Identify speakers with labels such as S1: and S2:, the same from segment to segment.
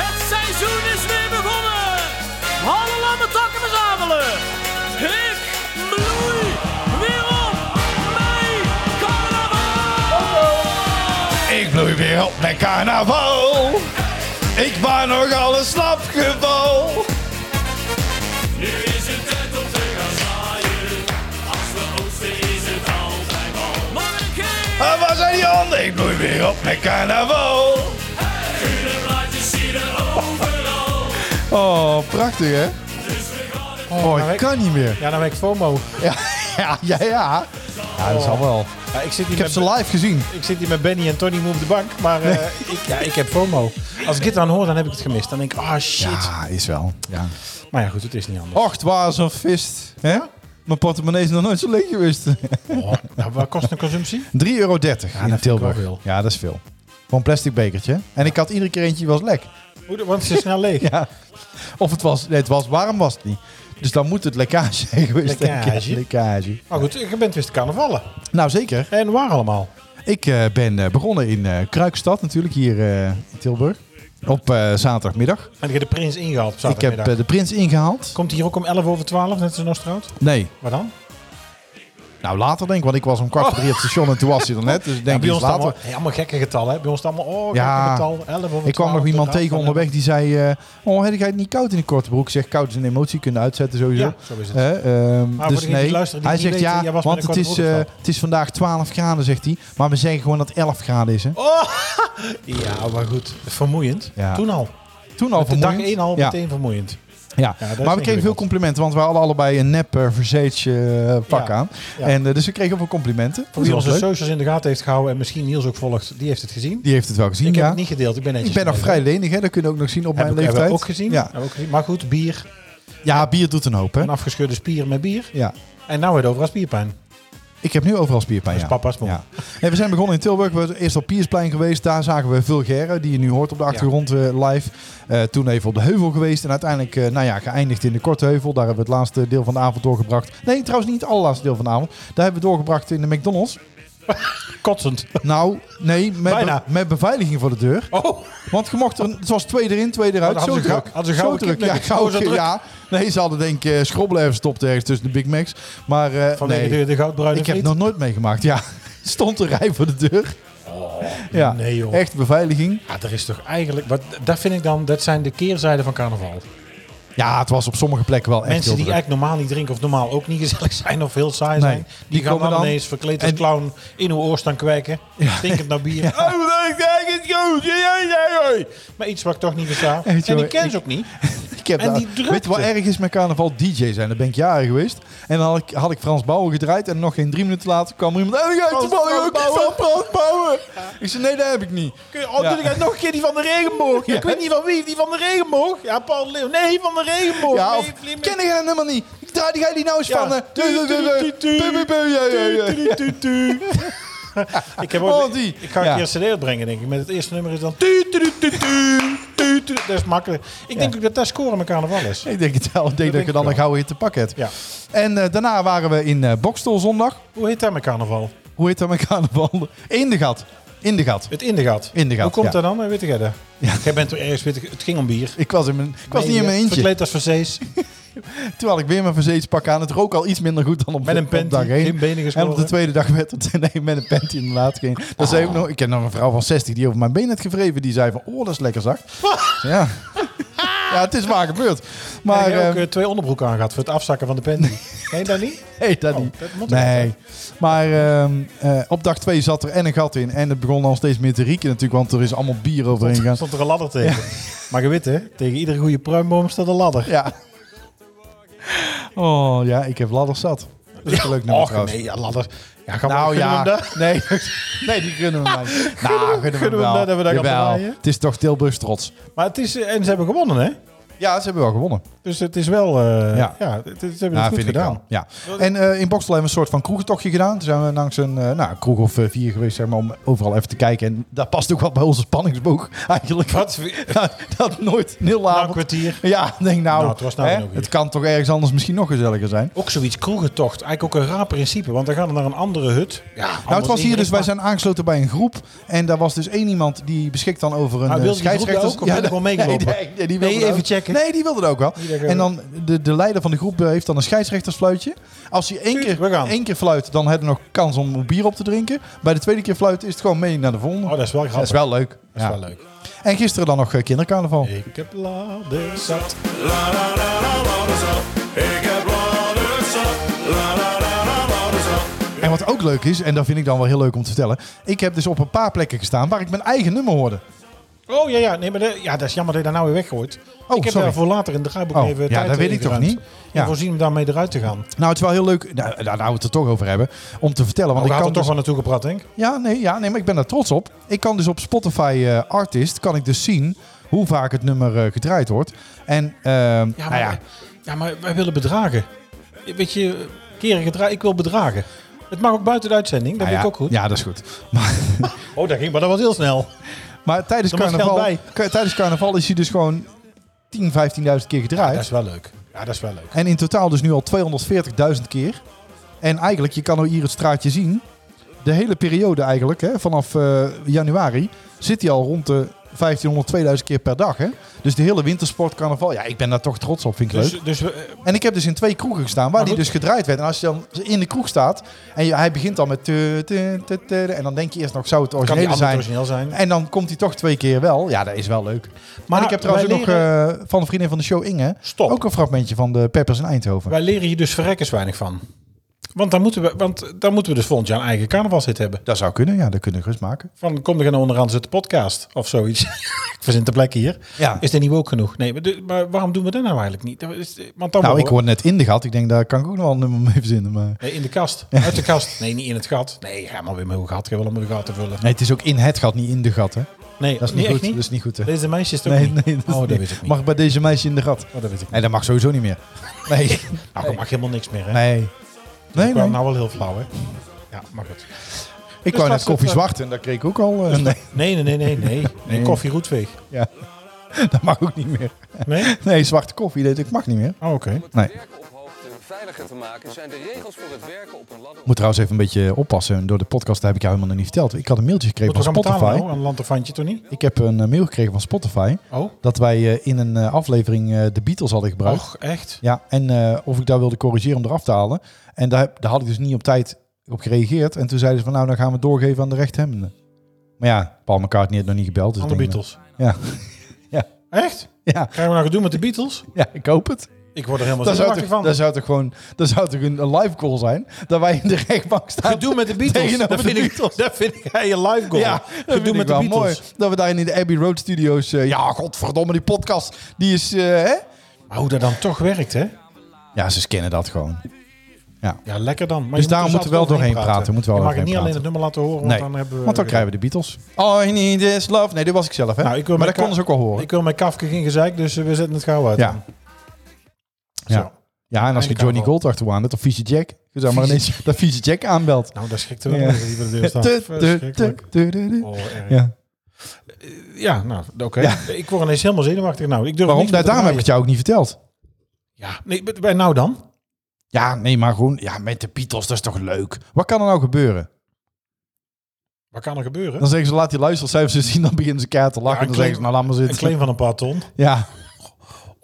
S1: Het seizoen is weer begonnen! Alle lamme takken verzamelen! Ik bloei weer op! Mijn carnaval!
S2: Ik bloei weer op met carnaval. Ik ben nog al een slapgeval.
S1: Nu is het tijd om te gaan zwaaien. Als we oosten is het altijd al. Maar ik heb
S2: En Ah, waar zijn die handen? Ik bloei weer op met carnaval.
S1: de blaadjes zien er overal.
S2: Oh, prachtig hè? Oh, ik kan niet meer.
S3: Ja, dan ben ik FOMO.
S2: Ja, ja, ja. Ja, dat zal wel.
S3: Ja, ik, zit hier
S2: Ik heb
S3: met,
S2: ze live gezien.
S3: ik zit hier met Benny en Tony moe op de bank, maar eh, ik, ja, ik heb FOMO. Als ik dit dan hoor, dan heb ik het gemist. Dan denk ik, ah shit.
S2: Ja, is wel. Ja.
S3: Maar ja, goed, het is niet anders.
S2: Och, het was een vist. Hè? Mijn portemonnee is nog nooit zo leeg geweest. 3,30
S3: Oh, nou, wat kost een consumptie?
S2: euro in
S3: ik
S2: Tilburg.
S3: wel veel.
S2: Ja, dat is veel. Voor een plastic bekertje. En ik had iedere keer eentje die was lek.
S3: Hoe de- Want het is snel leeg.
S2: Ja. Of het was, nee, het was warm, was het niet. Dus dan moet het lekkage zijn geweest. denk ik.
S3: Lekkage?
S2: lekkage.
S3: Maar goed, je bent weer te carnavallen.
S2: Nou, zeker.
S3: En waar allemaal?
S2: Ik eh, ben eh, begonnen in eh, Kruikstad natuurlijk, hier eh, in Tilburg. Op eh, zaterdagmiddag.
S3: En je hebt de prins ingehaald op
S2: Ik heb
S3: zaterdagmiddag.
S2: eh, de prins ingehaald.
S3: Komt hij hier ook om 11 over 12, net als Nostraat?
S2: Nee,
S3: Waar dan?
S2: nou later denk ik, want ik was om kwart voor drie op het station en toen was hij er net. Dus ik denk
S3: bij
S2: iets
S3: ons allemaal,
S2: later.
S3: hey, allemaal gekke getallen. Hè? Bij ons allemaal, oh, gekke
S2: Ja.
S3: getal. 11 over
S2: Ik kwam
S3: 12,
S2: nog iemand
S3: de
S2: tegen
S3: raad-
S2: onderweg die zei, eh, oh, heb ik het niet koud in de korte broek? Ik zeg, koud is een emotie, kunnen uitzetten sowieso.
S3: Ja, zo is het.
S2: Hè, ehm,
S3: Maar voor
S2: dus
S3: degenen die
S2: nee,
S3: luisteren die
S2: hij
S3: het
S2: zegt
S3: niet weten,
S2: ja,
S3: jij was met
S2: want
S3: een
S2: het is,
S3: korte broek
S2: eh,
S3: op stap.
S2: het is vandaag 12 graden, zegt hij. Maar we zeggen gewoon dat 11 graden is. Hè?
S3: Oh, Ja, maar goed. Vermoeiend.
S2: Ja.
S3: Toen al.
S2: Toen al
S3: De dag
S2: vermoeiend.
S3: 1 al
S2: ja.
S3: meteen vermoeiend.
S2: Ja. maar
S3: Ja, dat is
S2: we kregen
S3: ingewikkeld.
S2: veel complimenten, want we hadden allebei een nep eh, verzeetje eh, pak
S3: Ja.
S2: aan.
S3: Ja.
S2: En, eh, dus we kregen ook wel complimenten. Die
S3: Wie
S2: was
S3: onze
S2: leuk.
S3: socials in de gaten heeft gehouden en misschien Niels ook volgt, die heeft het gezien.
S2: Die heeft het wel gezien,
S3: ik heb
S2: ja.
S3: het niet gedeeld, ik ben netjes.
S2: Ik ben nog vrij
S3: gebleven.
S2: lenig, hè. dat kunnen we ook nog zien op
S3: Heb
S2: mijn
S3: ik- hebben we
S2: leeftijd.
S3: ook gezien.
S2: Ja.
S3: Hebben we ook gezien. Maar goed, bier.
S2: ja, bier doet een hoop. Hè?
S3: Een afgescheurde spier met bier.
S2: Ja.
S3: En nou het overal spierpijn.
S2: Ik heb nu overal spierpijn.
S3: Dat is
S2: ja.
S3: papa's mond.
S2: Ja. Nee, we zijn begonnen in Tilburg. We zijn eerst op Piersplein geweest. Daar zagen we Vulgaire, die je nu hoort op de achtergrond eh, live. Eh, toen even op de heuvel geweest. En uiteindelijk eh, nou ja, geëindigd in de Korte Heuvel. Daar hebben we het laatste deel van de avond doorgebracht. Nee, trouwens niet het allerlaatste deel van de avond. Daar hebben we doorgebracht in de McDonald's.
S3: Kotsend.
S2: Nou, nee, met,
S3: Bijna.
S2: be- met beveiliging voor de deur.
S3: Oh,
S2: Want je mocht er, het was twee erin, twee eruit.
S3: Maar Oh, dan
S2: zo
S3: hadden ze
S2: druk.
S3: gauw- hadden ze
S2: zo
S3: gouden
S2: druk. Ja,
S3: kipnuggets. Oh, zo
S2: gouden-
S3: druk.
S2: ja, nee, ze hadden denk ik eh, schrobbelen even stopt ergens tussen de Big Macs. Maar eh,
S3: vanwege
S2: nee,
S3: de, de goudbruine
S2: ik heb
S3: vriend.
S2: nog nooit meegemaakt. Ja, stond een rij voor de deur. ja,
S3: Oh, nee, joh.
S2: echt beveiliging.
S3: Ja, er is toch eigenlijk... Wat, dat vind ik dan, dat zijn de keerzijden van carnaval.
S2: Ja, het was op sommige plekken wel echt
S3: Mensen
S2: heel
S3: die
S2: druk.
S3: eigenlijk normaal niet drinken of normaal ook niet gezellig zijn of heel saai zijn.
S2: Nee,
S3: die,
S2: die
S3: gaan
S2: komen
S3: dan,
S2: dan-
S3: ineens verkleed als
S2: en-
S3: clown in hun oor staan kwijken. Stinkend naar bier. Oh, ik denk het goed. Ja, ja, ja, ja. Maar iets wat ik toch niet besta.
S2: Echt,
S3: En
S2: jongen,
S3: ik ken
S2: ik-
S3: ze ook niet.
S2: Ik heb
S3: en
S2: daar-
S3: die drukte.
S2: Weet je wat erg is met carnaval? DJ zijn. Daar ben ik jaren geweest. En dan had ik, had ik Frans Bauer gedraaid. En nog geen drie minuten later kwam er iemand. En ik heb toevallig ook iets van Frans Bauer. Ik zei, nee, dat heb ik niet.
S3: Oh,
S2: Ja.
S3: doe ik het nog een keer die van de regenboog. Ik weet niet van wie, die van de regenboog. Ja, Paul Leeuw. Nee, van de regenboog.
S2: Ja,
S3: Nee,
S2: of,
S3: Vlieming.
S2: ken ik hem helemaal niet. Ik draai die guy die nou eens
S3: Ja.
S2: van. eh,
S3: Tu, tu, tu, tu.
S2: bu, bu, bu, ja, ja, ja.
S3: Tu, tu, tu. Ik heb ook-
S2: Oh, die.
S3: Ik ga een
S2: Ja.
S3: keer een cd uitbrengen, denk ik. Met het eerste nummer is dan... tu, tu, tu, tu, tu, tu, tu. Dat is makkelijk. Ik denk ook dat dat scoren met carnaval is.
S2: Ik denk het wel. Ik denk dat
S3: denk
S2: je
S3: ik
S2: dan een
S3: wel.
S2: gouden hit te pakken hebt.
S3: Ja.
S2: En eh, daarna waren we in eh Bokstel zondag.
S3: Hoe heet dat met carnaval?
S2: Hoe heet dat met carnaval? In de gat. In de gat.
S3: Het Indegat.
S2: Indegat,
S3: Hoe komt
S2: ja.
S3: dat dan? Eh, Weet ik dat?
S2: Ja.
S3: Jij bent toch ergens... Weet ik, het ging om bier. eh,
S2: Ik was, in mijn, ik was niet in mijn eentje.
S3: Verkleed als Verzees.
S2: Terwijl ik weer mijn verzeetspak aan. Het rook al iets minder goed dan op,
S3: Met een
S2: op
S3: panty,
S2: dag één.
S3: geen benen
S2: En
S3: geschoren. Ah.
S2: op de tweede dag werd het nee, met een panty inderdaad. Geen, dat zei ook nog, ik ken nog een vrouw van 60 die over mijn been had gevreven. Die zei van, oh, dat is lekker zacht. ja. ja, het is waar gebeurd. Maar,
S3: Maar heb ook
S2: eh,
S3: eh, twee onderbroeken aan gehad voor het afzakken van de panty. nee, dat niet?
S2: Nee, dat
S3: Oh,
S2: niet.
S3: dat moet
S2: nee.
S3: ook
S2: Maar ehm, eh, op dag 2 zat er en een gat in. En het begon al steeds meer te rieken natuurlijk, want er is allemaal bier overheen
S3: Er
S2: gegaan.
S3: stond er een ladder tegen. Maar je weet hè, tegen iedere goede pruimboom staat een ladder.
S2: Ja. Oh ja, ik heb ladders zat. Dat is een leuk nummer
S3: Och
S2: trouwens.
S3: nee, ja, ladder. Ja, gaan we,
S2: Nou
S3: gunnen we hem
S2: ja,
S3: dat?
S2: nee, nee, die gunnen we mij. niet. Nou, gunnen we
S3: gunnen we hem
S2: wel.
S3: dat we daar gaan
S2: Jawel.
S3: draaien?
S2: Het is toch Tilburgs trots.
S3: Maar het is, eh, en ze hebben gewonnen hè?
S2: Ja, ze hebben wel gewonnen.
S3: Dus het is wel... eh,
S2: Ja.
S3: ja. het, het- ze hebben
S2: Ja,
S3: het goed
S2: vind
S3: gedaan.
S2: ik wel. Ja. En eh, in Boksel hebben we een soort van kroegtochtje gedaan. Toen zijn we langs een eh, nou, kroeg of eh, vier geweest, zeg maar, om overal even te kijken. En dat past ook wat bij onze spanningsboog eigenlijk.
S3: Wat?
S2: Nou, dat nooit een hele
S3: Na een
S2: avond.
S3: kwartier.
S2: Ja, ik denk nou,
S3: Nou, het was nou
S2: hè,
S3: weer nog weer.
S2: het kan toch ergens anders misschien nog gezelliger zijn.
S3: Ook zoiets kroegentocht. Eigenlijk ook een raar principe. Want dan gaan we naar een andere hut. Ja,
S2: Nou, het was hier dus, wij zijn aangesloten bij een groep. En daar was dus één iemand die beschikt dan over een
S3: Ah,
S2: eh,
S3: wilde die groep
S2: scheidsrechter.
S3: daar ook? Of ben ik wel meegelopen?
S2: Nee, nee, die wilde
S3: Nee,
S2: dat
S3: even
S2: ook.
S3: checken.
S2: Nee, die wilde het ook wel.
S3: dacht ook.
S2: En dan, de, de leider van de groep eh, heeft dan een scheidsrechtersfluitje. Als hij één
S3: Tuut,
S2: keer,
S3: we gaan.
S2: één keer fluit, dan hebben we nog kans om bier op te drinken. Bij de tweede keer fluiten is het gewoon mee naar de volgende.
S3: Oh, dat is wel
S2: dat
S3: grappig.
S2: is wel leuk.
S3: Dat is wel leuk.
S2: En gisteren dan nog eh, kindercarnaval.
S3: Ik heb laden zat.
S1: La la la la la zat. Ik heb ladder zat. La la la la la zat.
S2: En wat ook leuk is, en dat vind ik dan wel heel leuk om te vertellen. Ik heb dus op een paar plekken gestaan waar ik mijn eigen nummer hoorde.
S3: Oh ja, ja. Nee, maar dat, ja, dat is jammer dat je daar nou weer weggooit.
S2: Oh,
S3: ik heb
S2: sorry.
S3: daar voor later in de draaiboek
S2: Oh,
S3: even
S2: ja,
S3: tijd
S2: dat weet ik toch
S3: ingeruimd.
S2: niet?
S3: En
S2: Ja.
S3: voorzien om daarmee eruit te gaan. Oh,
S2: Nou, het is wel heel leuk. Nou, daar nou we het er toch over hebben. Om te vertellen. Want
S3: Want ik
S2: ik kan
S3: had er Oh, toch
S2: dus-
S3: wel naartoe gepraat, denk ik.
S2: Ja, nee, ja, nee, maar ik ben daar trots op. Ik kan dus op Spotify eh, Artist kan ik dus zien hoe vaak het nummer eh, gedraaid wordt. En ehm
S3: Ja,
S2: nou
S3: maar,
S2: ja,
S3: ja, maar wij willen bedragen. Weet je, keren gedragen, ik wil bedragen. Het mag ook buiten de uitzending, dat
S2: nou
S3: vind
S2: ja,
S3: ik ook goed.
S2: Ja, dat is goed. Maar,
S3: Oh, dat ging maar dat was heel snel.
S2: maar tijdens,
S3: Er moet geld
S2: carnaval,
S3: bij.
S2: ka- tijdens carnaval is hij dus gewoon 10, 15.000 keer
S3: Dat
S2: gedraaid.
S3: is wel leuk. Ja, dat is wel leuk.
S2: en in totaal dus nu al 240.000 keer. En eigenlijk, je kan nou hier het straatje zien. De hele periode eigenlijk, hè, vanaf eh, januari, zit hij al rond de 1500, 2000 keer per dag. Hè? Dus de hele wintersport, carnaval. Ja, ik ben daar toch trots op, vind ik leuk.
S3: Dus, dus we, eh,
S2: En ik heb dus in twee kroegen gestaan waar
S3: Maar
S2: die
S3: goed.
S2: dus gedraaid werd. En als je dan in de kroeg staat en je- hij begint dan met... te, te, te, te, en dan denk je eerst nog, zou het
S3: kan die
S2: origineel
S3: ander
S2: zijn?
S3: origineel zijn. Nou,
S2: En dan komt hij toch twee keer wel. Ja, dat is wel leuk. Maar ik heb trouwens
S3: wij
S2: ook
S3: leren-
S2: nog eh, van een vriendin van de show Inge...
S3: Stop.
S2: ook een fragmentje van de Peppers in Eindhoven.
S3: Wij leren hier dus verrekkers weinig van. Want dan moeten we, want dan moeten we dus volgend jaar een eigen carnavalshit hebben.
S2: Dat zou kunnen, ja. Dat kunnen we gerust maken.
S3: Van kom er gaan onderaan zitten podcast of zoiets. ik verzin de plek hier.
S2: Ja.
S3: Is dit niet ook genoeg? Nee, maar, de- maar waarom doen we dat nou eigenlijk niet? Dat is- Want dan
S2: Nou,
S3: worden
S2: ik
S3: we-
S2: hoor net in de gat. Ik denk, daar kan ik ook nog wel een nummer mee verzinnen. Maar...
S3: Nee, in de kast. Uit de kast. Nee, niet in het gat. Nee, ga maar weer met een gat. Ik heb wel om een gat te vullen.
S2: Nee, het is ook in het gat, niet in de gat, hè.
S3: Nee,
S2: Dat is niet
S3: echt
S2: goed. Dat is niet goed, hè.
S3: Deze meisjes toch
S2: Nee,
S3: niet?
S2: nee.
S3: oh, dat
S2: is
S3: weet
S2: niet.
S3: ik niet.
S2: Mag bij deze meisje in de gat?
S3: Oh, dat weet ik niet.
S2: Nee, dat mag sowieso niet meer. Nee.
S3: Nou, ik mag helemaal niks meer, hè?
S2: Nee. Nee,
S3: Ik wou
S2: nee.
S3: nou wel heel flauw, hè? Ja, maar goed.
S2: Ik
S3: Dus
S2: wou
S3: dat
S2: net
S3: is Dus
S2: koffie
S3: het, eh,
S2: zwart en dat kreeg ik ook al. eh, nee,
S3: Nee, nee, nee, nee, nee. nee. Koffie Roetveeg.
S2: ja. dat mag ook niet meer.
S3: Nee?
S2: Nee, zwarte koffie, dat ik mag niet meer.
S3: Oh, oké.
S4: Om het
S2: Nee.
S4: werken op hoogte veiliger te maken zijn de regels voor het werken op een ladder.
S2: Moet trouwens even een beetje oppassen. Door de podcast heb ik jou helemaal nog niet verteld. Ik had een mailtje gekregen
S3: Moeten
S2: van
S3: we gaan betalen
S2: Spotify.
S3: nou? Een lanterfantje, toch niet?
S2: Ik heb een eh, mail gekregen van Spotify.
S3: Oh.
S2: Dat wij eh, in een eh, aflevering eh, de Beatles hadden gebruikt.
S3: Och, echt?
S2: Ja, en eh, of ik daar wilde corrigeren om eraf te halen. En daar, heb- daar had ik dus niet op tijd op gereageerd. En toen zeiden ze van nou, dan gaan we het doorgeven aan de rechthebbenden. Maar ja, Paul McCartney heeft nog niet gebeld. Dus
S3: Van de
S2: ik denk,
S3: Beatles.
S2: Ja.
S3: Echt?
S2: Ja,
S3: Krijgen we nou gedoe met de Beatles?
S2: ja, ik hoop het.
S3: Ik word er helemaal
S2: Dat zou,
S3: zenuwachtig
S2: toch,
S3: van.
S2: dat zou toch gewoon dat zou toch een een live call zijn? Dat wij in de rechtbank staan.
S3: Gedoe met de Beatles.
S2: Tegenover
S3: Dat vind,
S2: de
S3: ik, dat vind jij een live goal.
S2: Ja, dat vind
S3: Gedoe met
S2: ik
S3: de
S2: wel
S3: Beatles.
S2: mooi. Dat we daar in de Abbey Road Studios... eh, ja, godverdomme, die podcast, die is... eh, hè?
S3: Maar hoe dat dan toch werkt, hè?
S2: Ja, ze scannen dat gewoon.
S3: Ja, lekker dan. Maar
S2: Dus
S3: je
S2: daarom
S3: moet
S2: moeten we wel
S3: altijd
S2: doorheen praten. Moeten we
S3: je
S2: wel
S3: mag het niet
S2: doorheen
S3: alleen het nummer laten horen, want
S2: Nee,
S3: dan hebben we...
S2: want dan krijgen we de Beatles. Oh, I need is love. Nee, dit was ik zelf, hè?
S3: Nou, ik wil
S2: maar dat
S3: met
S2: konden ze ook al horen.
S3: Ik wil met Kafka geen gezeik, dus eh, we zetten het gauw uit.
S2: ja.
S3: Zo.
S2: Ja. ja, en als je
S3: Einde
S2: Johnny
S3: carnaval.
S2: Gold achteraan hebt of Vieze Jack... Je zou maar ineens dat Vieze Jack aanbelt.
S3: Nou, daar schrikt er wel
S2: Ja.
S3: mensen die bij de deur staan.
S2: Tu, tu, tu,
S3: Verschrikkelijk.
S2: tu, tu, tu.
S3: Oh, erg. ja.
S2: Ja.
S3: nou, oké. Ik word ineens helemaal zenuwachtig. Nou, ik durf
S2: Waarom?
S3: niks meer
S2: Nou,
S3: te
S2: daarom heb ik het
S3: draaien.
S2: jou ook niet verteld.
S3: Ja, nee, maar- maar nou dan?
S2: Ja, nee, maar gewoon... Ja, met de Beatles, dat is toch leuk? Wat kan er nou gebeuren?
S3: Wat kan er gebeuren?
S2: Dan zeggen ze, laat die luistercijfers zien. Dan beginnen ze keihard te lachen.
S3: Ja,
S2: en dan zeggen ze, nou laat maar
S3: Een
S2: zitten.
S3: claim van een paar ton.
S2: Ja,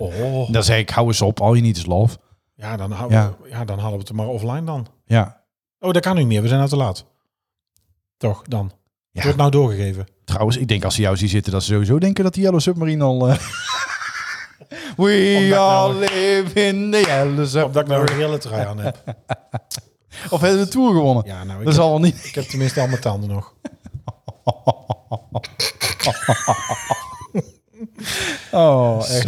S3: Oh.
S2: dan zeg ik, hou eens op. Al je niet is love.
S3: Ja, dan, houden
S2: Ja.
S3: We, ja, dan halen we het maar offline dan.
S2: Ja,
S3: Oh, dat kan niet meer. We zijn nou te laat. Toch, dan.
S2: Ja.
S3: Het wordt nou doorgegeven.
S2: trouwens, ik denk als ze jou zien zitten... dat ze sowieso denken dat die Yellow Submarine al... eh, We
S3: nou-
S2: all live in the Yellow
S3: Omdat ik nou een
S2: Submarine.
S3: hele trui aan heb.
S2: Of hebben we de Tour gewonnen?
S3: Ja, nou,
S2: dat
S3: ik heb-
S2: zal wel niet...
S3: Ik heb tenminste al mijn tanden nog.
S2: Oh, echt.
S3: Zo. Oh,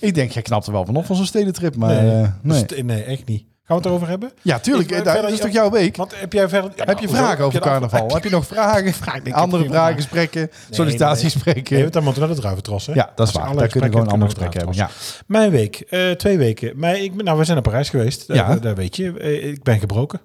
S2: Ik denk, jij knapt er wel vanaf van zo'n stedentrip. Maar
S3: Nee.
S2: eh, nee.
S3: Dus t- nee, echt niet. we het erover hebben?
S2: Ja, tuurlijk.
S3: Ik, eh,
S2: eh, dat
S3: verder-
S2: is toch jouw week?
S3: Want heb jij verder... ja,
S2: nou, heb je
S3: hoezo?
S2: vragen over
S3: de antwoord-
S2: carnaval? Heb je nog vragen?
S3: ik heb
S2: Andere vragen,
S3: geen vragen.
S2: gesprekken, sollicitatiesprekken.
S3: Nee, want dan moeten we naar de druiventros, hè?
S2: Ja, dat is
S3: Als je
S2: waar.
S3: alle
S2: Daar kunnen we
S3: gesprekken
S2: gewoon allemaal
S3: hebt,
S2: gesprekken
S3: kunnen
S2: hebben.
S3: we naar de
S2: Ja.
S3: druiventros. Mijn week, eh, twee weken. Mijn, ik, ben- nou, we zijn naar Parijs geweest.
S2: Ja.
S3: Ja. Daar weet je. Eh, ik ben gebroken.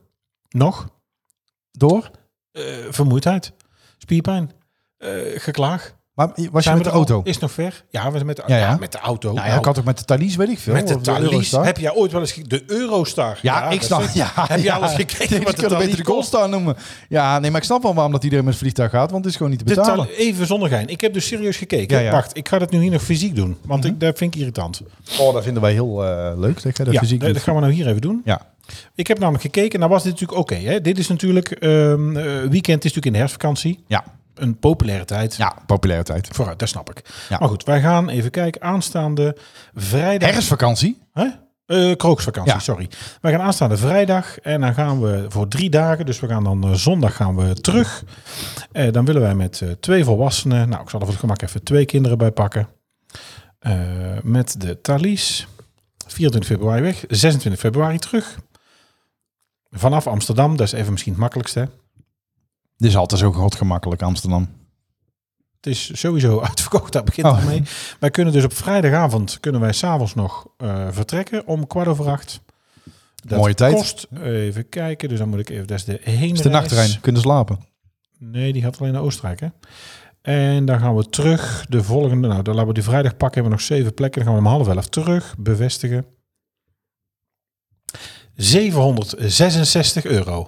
S3: Nog.
S2: Door?
S3: Eh, vermoeidheid. Spierpijn. Eh, geklaag.
S2: Maar was je met
S3: Zijn we
S2: de
S3: er al?
S2: auto?
S3: Is nog ver. Ja, we zijn met de,
S2: Ja,
S3: ja,
S2: ja.
S3: met de auto.
S2: Nou ja,
S3: Nou,
S2: kan Oh, toch met de Thalys, weet ik veel.
S3: met de
S2: Of
S3: Thalys.
S2: Eurostar?
S3: heb jij ooit wel eens... ge- De Eurostar.
S2: Ja, ik
S3: dat
S2: snap.
S3: is-
S2: Ja,
S3: heb je
S2: ja.
S3: alles
S2: Nee,
S3: gekeken
S2: die
S3: wat de
S2: kunnen beter
S3: Thalys
S2: de Goldstar noemen. Ja, nee, maar ik snap wel waarom dat iedereen met het vliegtuig gaat, want het is gewoon niet te
S3: Dit
S2: betalen.
S3: zal- even zonder gein. Ik heb dus serieus gekeken.
S2: Ja, ja.
S3: Wacht, ik ga dat nu hier nog fysiek doen. Want ik, dat vind ik irritant.
S2: Oh, dat vinden wij heel eh, leuk, dat jij dat
S3: ja,
S2: fysiek
S3: dat,
S2: doet.
S3: dat gaan we nou hier even doen.
S2: Ja.
S3: Ik heb namelijk gekeken. Nou was dit natuurlijk oké. hè? dit is natuurlijk... ehm, eh, weekend is natuurlijk in de herfstvakantie.
S2: Ja.
S3: Een populaire tijd.
S2: ja, populariteit.
S3: Vooruit, dat snap ik.
S2: Ja.
S3: Maar goed, wij gaan even kijken. Aanstaande vrijdag...
S2: Herfstvakantie?
S3: Hè? Eh, krooksvakantie,
S2: Ja.
S3: sorry. Wij gaan aanstaande vrijdag en dan gaan we voor drie dagen. Dus we gaan dan eh, zondag gaan we terug. Eh, dan willen wij met eh, twee volwassenen. Nou, ik zal er voor het gemak even twee kinderen bij pakken. Eh, met de Thalys. 24 februari weg, 26 februari terug. Vanaf Amsterdam, dat is even misschien het makkelijkste. hè.
S2: Dit is altijd zo gemakkelijk, Amsterdam.
S3: Het is sowieso uitverkocht, daar begint
S2: Oh.
S3: het mee. Wij kunnen dus op vrijdagavond, kunnen wij s'avonds nog eh, vertrekken om kwart over acht. Dat
S2: Mooie tijd.
S3: kost, even kijken, dus dan moet ik even, dat is de heenreis.
S2: Is de nachttrein, kunnen slapen.
S3: Nee, die gaat alleen naar Oostenrijk, hè. En dan gaan we terug, de volgende, nou, dan laten we die vrijdag pakken, hebben we nog zeven plekken. Dan gaan we om half elf terug, bevestigen. 766 euro.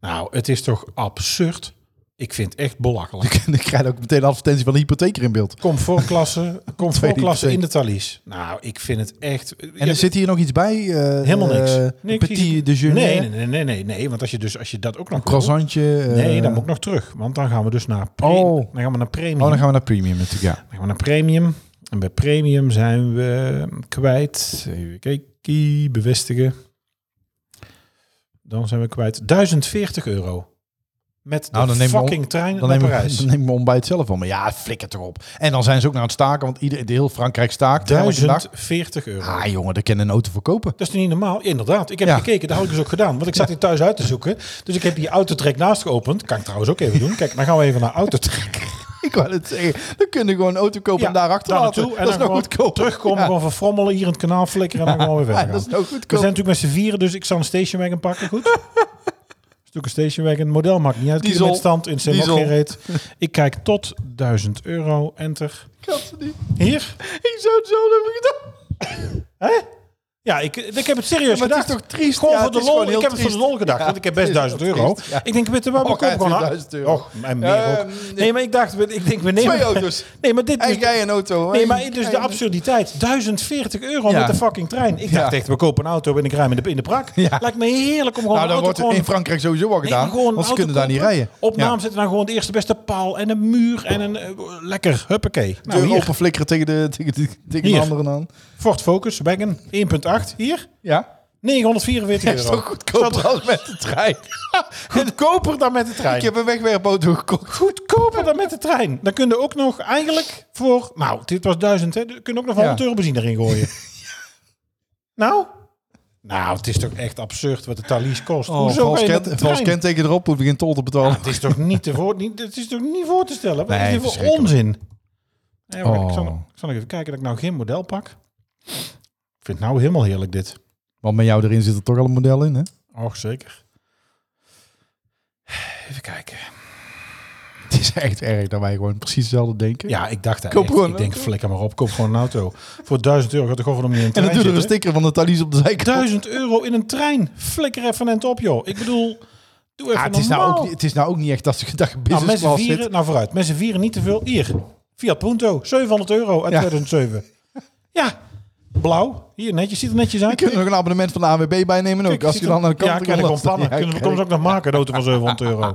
S3: Nou, het is toch absurd? Ik vind het echt belachelijk.
S2: Dan krijg je ook meteen een advertentie van de hypotheek er in beeld.
S3: Comfortklasse, comfortklasse
S2: hypotheek.
S3: in de Thalys. Nou, ik vind het echt...
S2: En er zit hier nog iets bij? eh,
S3: helemaal niks.
S2: eh,
S3: Nee, ik zie-
S2: petit déjeuner,
S3: nee, nee, nee, nee, nee, nee. Want als je, dus, als je dat ook nog... wil-
S2: croissantje. eh,
S3: Nee, dan moet ik nog terug. Want dan gaan we dus naar, pre-
S2: Oh.
S3: dan gaan we naar premium.
S2: Oh, dan
S3: dan, gaan
S2: gaan we naar premium natuurlijk, ja.
S3: we... naar premium. En bij premium zijn we kwijt. Even kijken, bevestigen. Dan zijn we kwijt 1040 euro. Met de
S2: Nou, dan nemen we on-
S3: fucking trein
S2: Dan
S3: naar
S2: nemen,
S3: Parijs.
S2: we, dan nemen we ontbijt zelf al. Maar ja, flikker toch op. En dan zijn ze ook naar het staken, want ieder, de heel Frankrijk staakt. elke dag.
S3: 1040 euro.
S2: Ah jongen, daar kennen een auto verkopen.
S3: Dat is niet normaal. Ja, inderdaad. Ik heb
S2: Ja.
S3: gekeken. Dat had ik dus ook gedaan. Want ik zat hier thuis uit te zoeken. Dus ik heb die autotrek naast geopend. Kan ik trouwens ook even doen. Kijk, dan gaan we even naar autotrek.
S2: Ik wou het zeggen. Dan kunnen we gewoon een auto kopen en daar achter laten.
S3: naartoe. En
S2: dat is nog
S3: dan gewoon
S2: goedkoper.
S3: terugkomen.
S2: Ja.
S3: Gewoon verfrommelen. Hier in het kanaal flikkeren. En dan gewoon weer verder
S2: Ja,
S3: gaan.
S2: dat is nog
S3: We
S2: goedkoper.
S3: zijn natuurlijk met z'n vieren. Dus ik zal een stationwagon pakken. Goed? Een stuk een stationwagon. Model maakt niet uit.
S2: Diesel.
S3: Diesel. stand in zijn
S2: Diesel.
S3: geen reet. Ik kijk tot 1000 euro. Enter.
S2: Gadverdikke.
S3: Hier.
S2: Ik zou het zo hebben gedaan.
S3: Hè? Ja, ik, ik heb het serieus
S2: Maar het is
S3: gedacht.
S2: toch triest?
S3: Gewoon
S2: Ja,
S3: voor
S2: het
S3: de
S2: is
S3: lol.
S2: gewoon
S3: Ik
S2: heel
S3: heb het voor de
S2: triest.
S3: lol gedacht.
S2: Ja,
S3: want ik heb
S2: het
S3: best
S2: is
S3: 1000
S2: heel
S3: euro.
S2: triest, ja.
S3: Ik denk, weet je waar, we
S2: Oh,
S3: kopen gewoon...
S2: 1000 euro.
S3: Och, en meer ook.
S2: Ehm,
S3: Nee, maar ik dacht, we- ik denk, we nemen...
S2: Twee auto's.
S3: Nee, maar dit...
S2: En jij een auto.
S3: Nee,
S2: En-
S3: maar dus de
S2: en-
S3: absurditeit. 1040 euro
S2: Ja.
S3: met de fucking trein. Ik dacht
S2: Ja.
S3: echt, we kopen een auto en ik ruim in de, in de prak.
S2: Ja.
S3: Lijkt me heerlijk om gewoon
S2: Nou,
S3: een
S2: dat
S3: auto
S2: wordt
S3: gewoon...
S2: in Frankrijk sowieso al
S3: Nee,
S2: gedaan.
S3: gewoon een
S2: want ze
S3: auto
S2: kunnen daar niet
S3: kopen.
S2: rijden.
S3: Op naam
S2: Ja.
S3: zetten dan gewoon de eerste beste paal en een muur en een... eh, lekker, huppakee. Nou,
S2: Deur
S3: hier.
S2: open flikkeren tegen de, tegen de, tegen de
S3: Hier.
S2: anderen aan.
S3: Ford Focus, wagon, 1.8. Hier,
S2: Ja.
S3: 944
S2: Dat
S3: euro.
S2: is toch goedkoper als met de trein.
S3: Goedkoper dan met de trein.
S2: Ik heb een wegwerpauto gekocht.
S3: Goedkoper dan met de trein. Dan kun je ook nog eigenlijk voor... Nou, dit was 1000, hè. Dan kun je ook nog 100
S2: Ja.
S3: euro benzine erin gooien. nou? Nou, het is toch echt absurd wat de Thalys kost. Hoezo
S2: Oh, vals,
S3: ga je met
S2: kent,
S3: de
S2: vals
S3: trein?
S2: kenteken erop, moet begin tol te betalen.
S3: Het is toch niet te voor, niet, het is toch niet voor te stellen? Wat
S2: Nee,
S3: is dit voor
S2: verschrikkelijk.
S3: onzin? Nee, wacht, ik, zal,
S2: Oh.
S3: ik zal nog even kijken dat ik nou geen model pak. Ik vind het nou helemaal heerlijk dit.
S2: Want met jou erin zit er toch al een model in, hè?
S3: Och, zeker. Even kijken.
S2: Het is echt erg dat wij gewoon precies hetzelfde denken.
S3: Ja, ik dacht dat
S2: Koop
S3: echt.
S2: gewoon
S3: Ik
S2: een
S3: denk,
S2: auto.
S3: flikker maar op, koop gewoon een auto. Voor 1000 euro gaat er gewoon van om je in een
S2: en
S3: trein
S2: dan doe je er een
S3: zitten.
S2: sticker van de Thalys op de zijkant.
S3: 1000 euro in een trein. Flikker even een op, joh. Ik bedoel, doe even
S2: Ja, het, is nou
S3: normaal.
S2: ook, niet- het is nou ook niet echt dat ze gedacht
S3: nou,
S2: business
S3: met z'n
S2: class
S3: vieren,
S2: zit.
S3: nou vooruit, met z'n vieren niet te veel. Hier, Fiat Punto, 700 euro uit
S2: Ja.
S3: 2007. Ja, blauw. Hier, netjes, ziet er netjes uit.
S2: Kunnen we nog een abonnement van de AWB bijnemen ook?
S3: Kijk,
S2: als
S3: ziet
S2: je
S3: er-
S2: dan aan de kant
S3: ja,
S2: kan
S3: kan ik
S2: lasten.
S3: ontplannen.
S2: Ja,
S3: Kunnen we
S2: kijk.
S3: soms ook nog maken, een auto van 700 euro.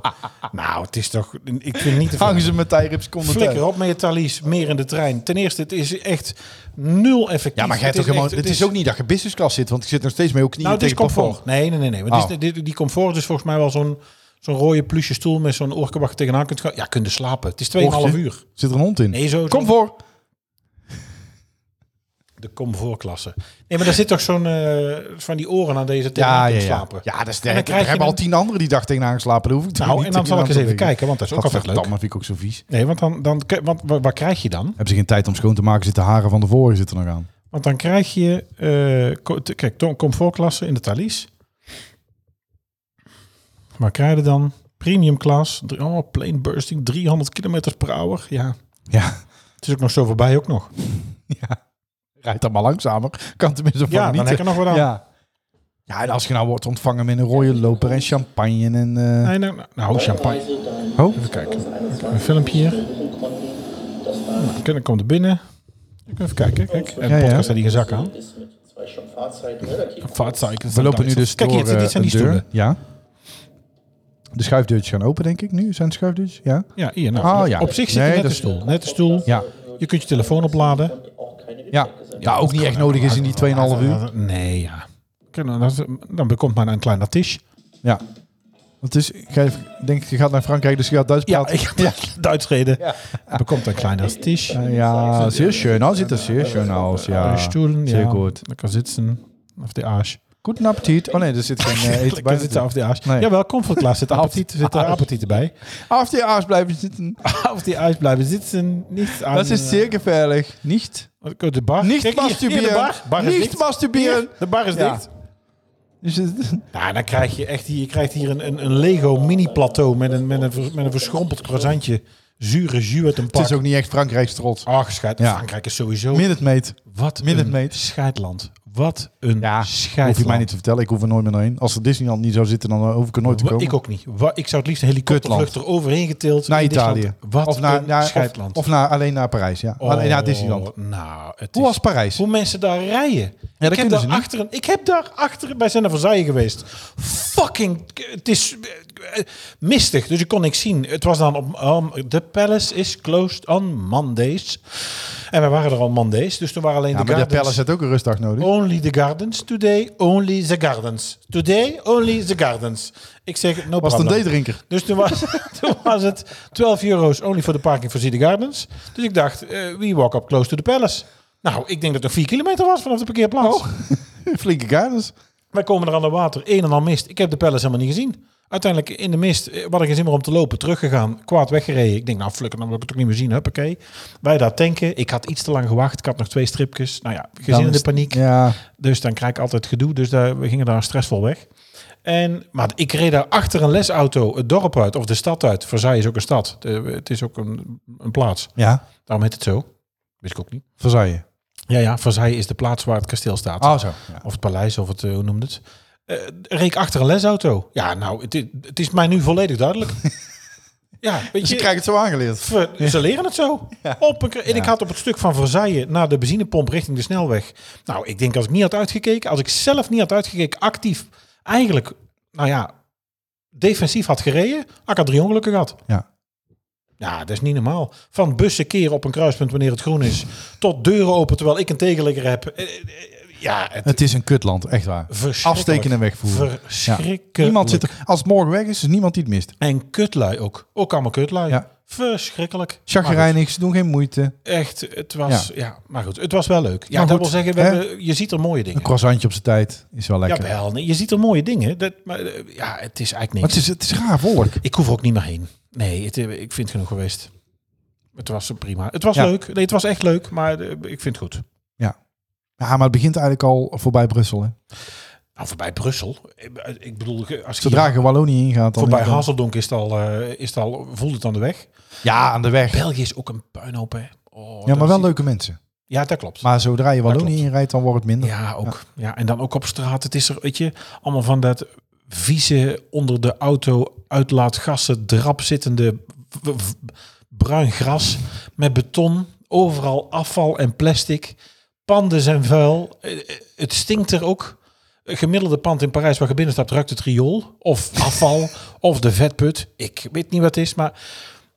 S3: nou, het is toch, ik vind het niet te veel.
S2: Hangen ze met tijrips komen
S3: Flikker op met je talies, meer in de trein. Ten eerste, het is echt nul effectief.
S2: Ja, maar jij hebt
S3: het
S2: toch helemaal,
S3: echt-
S2: het is ook niet dat je business class zit, want ik zit nog steeds met je knieën
S3: Nou, het is
S2: tegen het
S3: comfort.
S2: plafond.
S3: Nee, nee, nee. nee. Want het is-
S2: Oh.
S3: dit- die comfort is volgens mij wel zo'n zo'n rode plusje stoel met zo'n oorkabak tegenaan kunt gaan. Ja, kunt er slapen. Het is 2,5
S2: Oortje?
S3: uur.
S2: Zit er een hond in?
S3: Nee, zo. zo-
S2: Comfort.
S3: De comfortklasse. Nee, maar daar zit toch zo'n eh, van die oren aan deze tegen
S2: Ja,
S3: te
S2: ja, ja.
S3: slapen.
S2: ja, dat is
S3: En dan
S2: sterk. Er
S3: krijg je
S2: hebben al
S3: een-
S2: tien anderen die dag tegenaan geslapen. Daar hoef ik toch
S3: Nou,
S2: niet
S3: en dan
S2: te-
S3: zal ik
S2: aan
S3: eens
S2: te
S3: even
S2: denken.
S3: kijken, want dat is ook altijd leuk.
S2: Gadverdamme, vind ik ook zo vies.
S3: Nee, want dan, dan want, wa- wat krijg je dan?
S2: Hebben ze geen tijd om schoon te maken, zitten haren van de voren zitten nog aan.
S3: Want dan krijg je, eh, co- te- kijk, to- comfortklasse in de Thalys. Maar krijg je dan premium class, drie- oh, plane bursting, 300 km per hour. Ja,
S2: Ja,
S3: het is ook nog zo voorbij ook nog.
S2: ja. Rijd dan maar langzamer. Kan tenminste van
S3: Ja, dan
S2: genieten.
S3: heb je nog wat aan.
S2: Ja. ja, en als je nou wordt ontvangen met een rode loper en champagne en... eh,
S3: Nee, nou, nou, champagne.
S2: Oh,
S3: Even kijken. Een filmpje hier.
S2: Oh.
S3: Nou, kijk, dan komt er binnen. Even kijken, kijk. En de
S2: Ja, ja.
S3: podcast had hier een zak aan.
S5: ist mit zwei schon Fahrzeiten relativ
S3: Vaartzeikens.
S2: we lopen nu dus
S3: Kijk,
S2: door
S3: hier, dit zijn
S2: eh,
S3: die
S2: een deur.
S3: stoelen.
S2: Ja. De schuifdeurtjes gaan open, denk ik nu. Zijn het schuifdeurtjes? Ja.
S3: Ja, hier. Nou,
S2: Ah, ja.
S3: Op zich zit
S2: Nee,
S3: er net
S2: dat
S3: een
S2: is-
S3: stoel. Net een stoel.
S2: Ja.
S3: Je kunt je telefoon opladen.
S5: auch keine
S2: Ja. ja, ook niet echt nodig is in die 2,5 uur.
S3: Nee, ja. Kijk, dan- dan- Dan bekomt maar een klein tisch.
S2: Ja. Want het is, ik ga even- ik denk, je gaat naar Frankrijk, dus je gaat Duits praten.
S3: ik ja. Duits reden. Dan bekomt een klein tisch.
S2: Ja, ja zeer schön. Nou ziet er zeer schön aus. Ja,
S3: Een stoelen.
S2: Zeer
S3: ja.
S2: goed.
S3: Lekker zitten. Op de aas.
S2: Guten Appetit. Oh nee, er zit geen eh, eten bij.
S3: Lekker zitten op de aas.
S2: Nee.
S3: Jawel, comfortklaas zit appetiet, zit er appetiet bij.
S2: Auf die Arsch blijven zitten.
S3: Op die aas blijven zitten. Niet aan...
S2: Dat is zeer gevaarlijk. Niet.
S3: eh, De bar.
S2: Niet
S3: Kijk, hier, hier
S2: masturberen.
S3: de bar. Bar is
S2: Niet
S3: dicht.
S2: masturberen.
S3: Hier, De bar is
S2: Ja.
S3: dicht.
S2: Dus het-
S3: Nou, dan krijg je echt hier, je krijgt hier een, een, een Lego mini-plateau met een, met, een, vers- met een verschrompeld croissantje. Zure jus uit een
S2: het
S3: pak.
S2: is ook niet echt Frankrijk's trots.
S3: Ach, scheid.
S2: Ja.
S3: Frankrijk is sowieso...
S2: Minute
S3: wat
S2: Minute
S3: een
S2: Maid.
S3: scheidland. Wat een
S2: Ja,
S3: scheidland.
S2: hoef je mij niet te vertellen. Ik hoef er nooit meer naar heen. Als er Disneyland niet zou zitten, dan eh, hoef ik er nooit te
S3: Wa-
S2: komen.
S3: Ik ook niet. Wa- Ik zou het liefst een helikoptervlucht
S2: Kutland.
S3: eroverheen getild.
S2: Naar
S3: in Disneyland.
S2: Italië.
S3: Wat
S2: of naar,
S3: een
S2: naar- of-
S3: scheidland.
S2: Of, naar, alleen naar Parijs, ja.
S3: Oh,
S2: alleen naar Disneyland.
S3: Nou, het
S2: Hoe
S3: is-
S2: was Parijs?
S3: Hoe mensen daar rijden.
S2: dat
S3: ik, heb
S2: kunnen ze
S3: daar
S2: niet.
S3: achter, ik heb daar achter bij zijn naar Versailles geweest. Fucking, het is eh, mistig, dus ik kon niks zien. Het was dan op, um, the palace is closed on Mondays. En we waren er al Mondays, dus toen waren alleen
S2: Ja,
S3: de Oh.
S2: maar de
S3: gardens.
S2: Palace had ook een rustdag nodig.
S3: Only the gardens today, only the gardens. Today, only the gardens. Ik zeg, no
S2: was het een
S3: problem.
S2: theedrinker?
S3: Dus toen was, toen was het 12 euro's only voor de parking voor City Gardens. Dus ik dacht, eh, we walk up close to the palace. Nou, ik denk dat het 4 kilometer was vanaf de parkeerplaats.
S2: Oh. Flinke gardens.
S3: Wij komen er aan de water, een en al mist. Ik heb de palace helemaal niet gezien. Uiteindelijk in de mist, eh, we hadden geen zin meer om te lopen, teruggegaan, kwaad weggereden. Ik denk, nou flikker, dan wil ik het ook niet meer zien, huppakee. Wij daar tanken, ik had iets te lang gewacht, ik had nog twee stripjes. Nou ja, gezin
S2: Dan
S3: in
S2: is-
S3: de paniek.
S2: Ja,
S3: Dus dan krijg ik altijd gedoe. Dus daar, we gingen daar stressvol weg. En, maar ik reed daar achter een lesauto het dorp uit of de stad uit. Versailles is ook een stad. De- het is ook een, een plaats.
S2: ja.
S3: Daarom heet het zo. Wist ik ook niet.
S2: Versailles.
S3: Ja, ja, Versailles is de plaats waar het kasteel staat.
S2: Ah, zo. Ja.
S3: Of het paleis, of het, eh, hoe noemde het? Eh reed ik achter een lesauto. Ja, nou, het, i- het is mij nu volledig duidelijk. ja, weet
S2: Dus
S3: je,
S2: je krijgt het zo aangeleerd.
S3: Ver- Ze leren het zo. Op een, en ik had op het stuk van Versailles naar de benzinepomp richting de snelweg. Nou, ik denk als ik niet had uitgekeken, als ik zelf niet had uitgekeken, actief eigenlijk, nou ja, defensief had gereden, had ik al drie ongelukken gehad.
S2: Ja.
S3: Ja, dat is niet normaal. Van bussen keren op een kruispunt wanneer het groen is, tot deuren open terwijl ik een tegenligger heb. Eh, eh, eh, Ja, het,
S2: Het is een kutland, echt waar.
S3: verschrikkelijk.
S2: Afsteken en wegvoeren. Ja.
S3: Verschrikkelijk.
S2: Niemand zit er, als het morgen weg is, is niemand die het mist.
S3: En kutlui ook. Ook allemaal kutlui.
S2: Ja.
S3: Verschrikkelijk. Maar goed.
S2: Chagrijnig, ze doen geen moeite.
S3: Echt, het was, ja. maar goed, het was wel leuk. Ja,
S2: Maar
S3: dat
S2: goed,
S3: wil zeggen, we
S2: hè?
S3: hebben, je ziet er mooie
S2: Een
S3: dingen.
S2: croissantje op zijn tijd is wel lekker. Maar
S3: Jawel, nee, je ziet er mooie dingen. Dat, maar eh, ja, het is eigenlijk
S2: het
S3: niks.
S2: is, het is raar volk.
S3: Ik hoef er ook niet meer heen. Nee, het, eh, ik vind het genoeg geweest. Het was prima. Het was
S2: Ja.
S3: leuk. Nee, het was echt leuk, maar eh, ik vind het goed.
S2: Ja, maar het begint eigenlijk al voorbij Brussel. Hè.
S3: Nou, voorbij Brussel. eh, Ik bedoel, eh, als je
S2: Zodra je Wallonië ingaat, dan
S3: voorbij
S2: is het dan-
S3: Hasseldonk is het al, eh, is het al, voelt het aan de weg.
S2: Ja, aan de weg.
S3: België is ook een puinhoop, hè. Oh,
S2: Ja,
S3: dat
S2: maar wel
S3: is-
S2: leuke mensen.
S3: Ja, dat klopt.
S2: Maar zodra je Wallonië
S3: klopt.
S2: inrijdt, dan wordt het minder.
S3: Ja, ook. Ja. en dan ook op straat. Het is er, weet je, allemaal van dat vieze onder de auto uitlaatgassen drap zittende w- w- bruin gras met beton. Overal afval en plastic. Panden zijn vuil. Eh, eh, Het stinkt er ook. Een gemiddelde pand in Parijs waar je binnenstapt ruikt het riool. Of afval. of de vetput. Ik weet niet wat het is, maar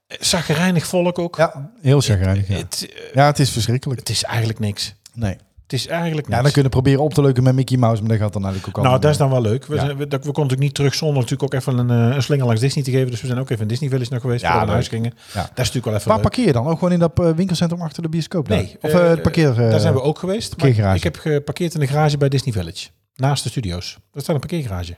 S3: eh, zagrijnig volk ook.
S2: Ja, heel chagrijnig. Ja.
S3: Het, eh,
S2: ja, het is verschrikkelijk.
S3: het is eigenlijk niks.
S2: Nee.
S3: Het Het is eigenlijk
S2: Ja,
S3: niks.
S2: dan kunnen we proberen op te leuken met Mickey Mouse, maar dat gaat dan eigenlijk ook
S3: nou,
S2: allemaal
S3: dat is dan wel leuk. We,
S2: Ja.
S3: zijn- we, dat- we konden natuurlijk niet terug zonder natuurlijk ook even een, eh, een slinger langs Disney te geven. Dus we zijn ook even in Disney Village nog geweest
S2: Ja,
S3: voordat we naar
S2: leuk.
S3: huis gingen.
S2: Ja.
S3: Dat is natuurlijk wel even
S2: Waar
S3: leuk.
S2: parkeer je dan? Ook gewoon in dat eh, winkelcentrum achter de bioscoop? daar?
S3: Nee,
S2: Of
S3: eh,
S2: eh, het parkeer... eh,
S3: Daar zijn we ook geweest. Maar
S2: parkeergarage.
S3: ik heb geparkeerd in de garage bij Disney Village. Naast de studio's. Daar staat een parkeergarage.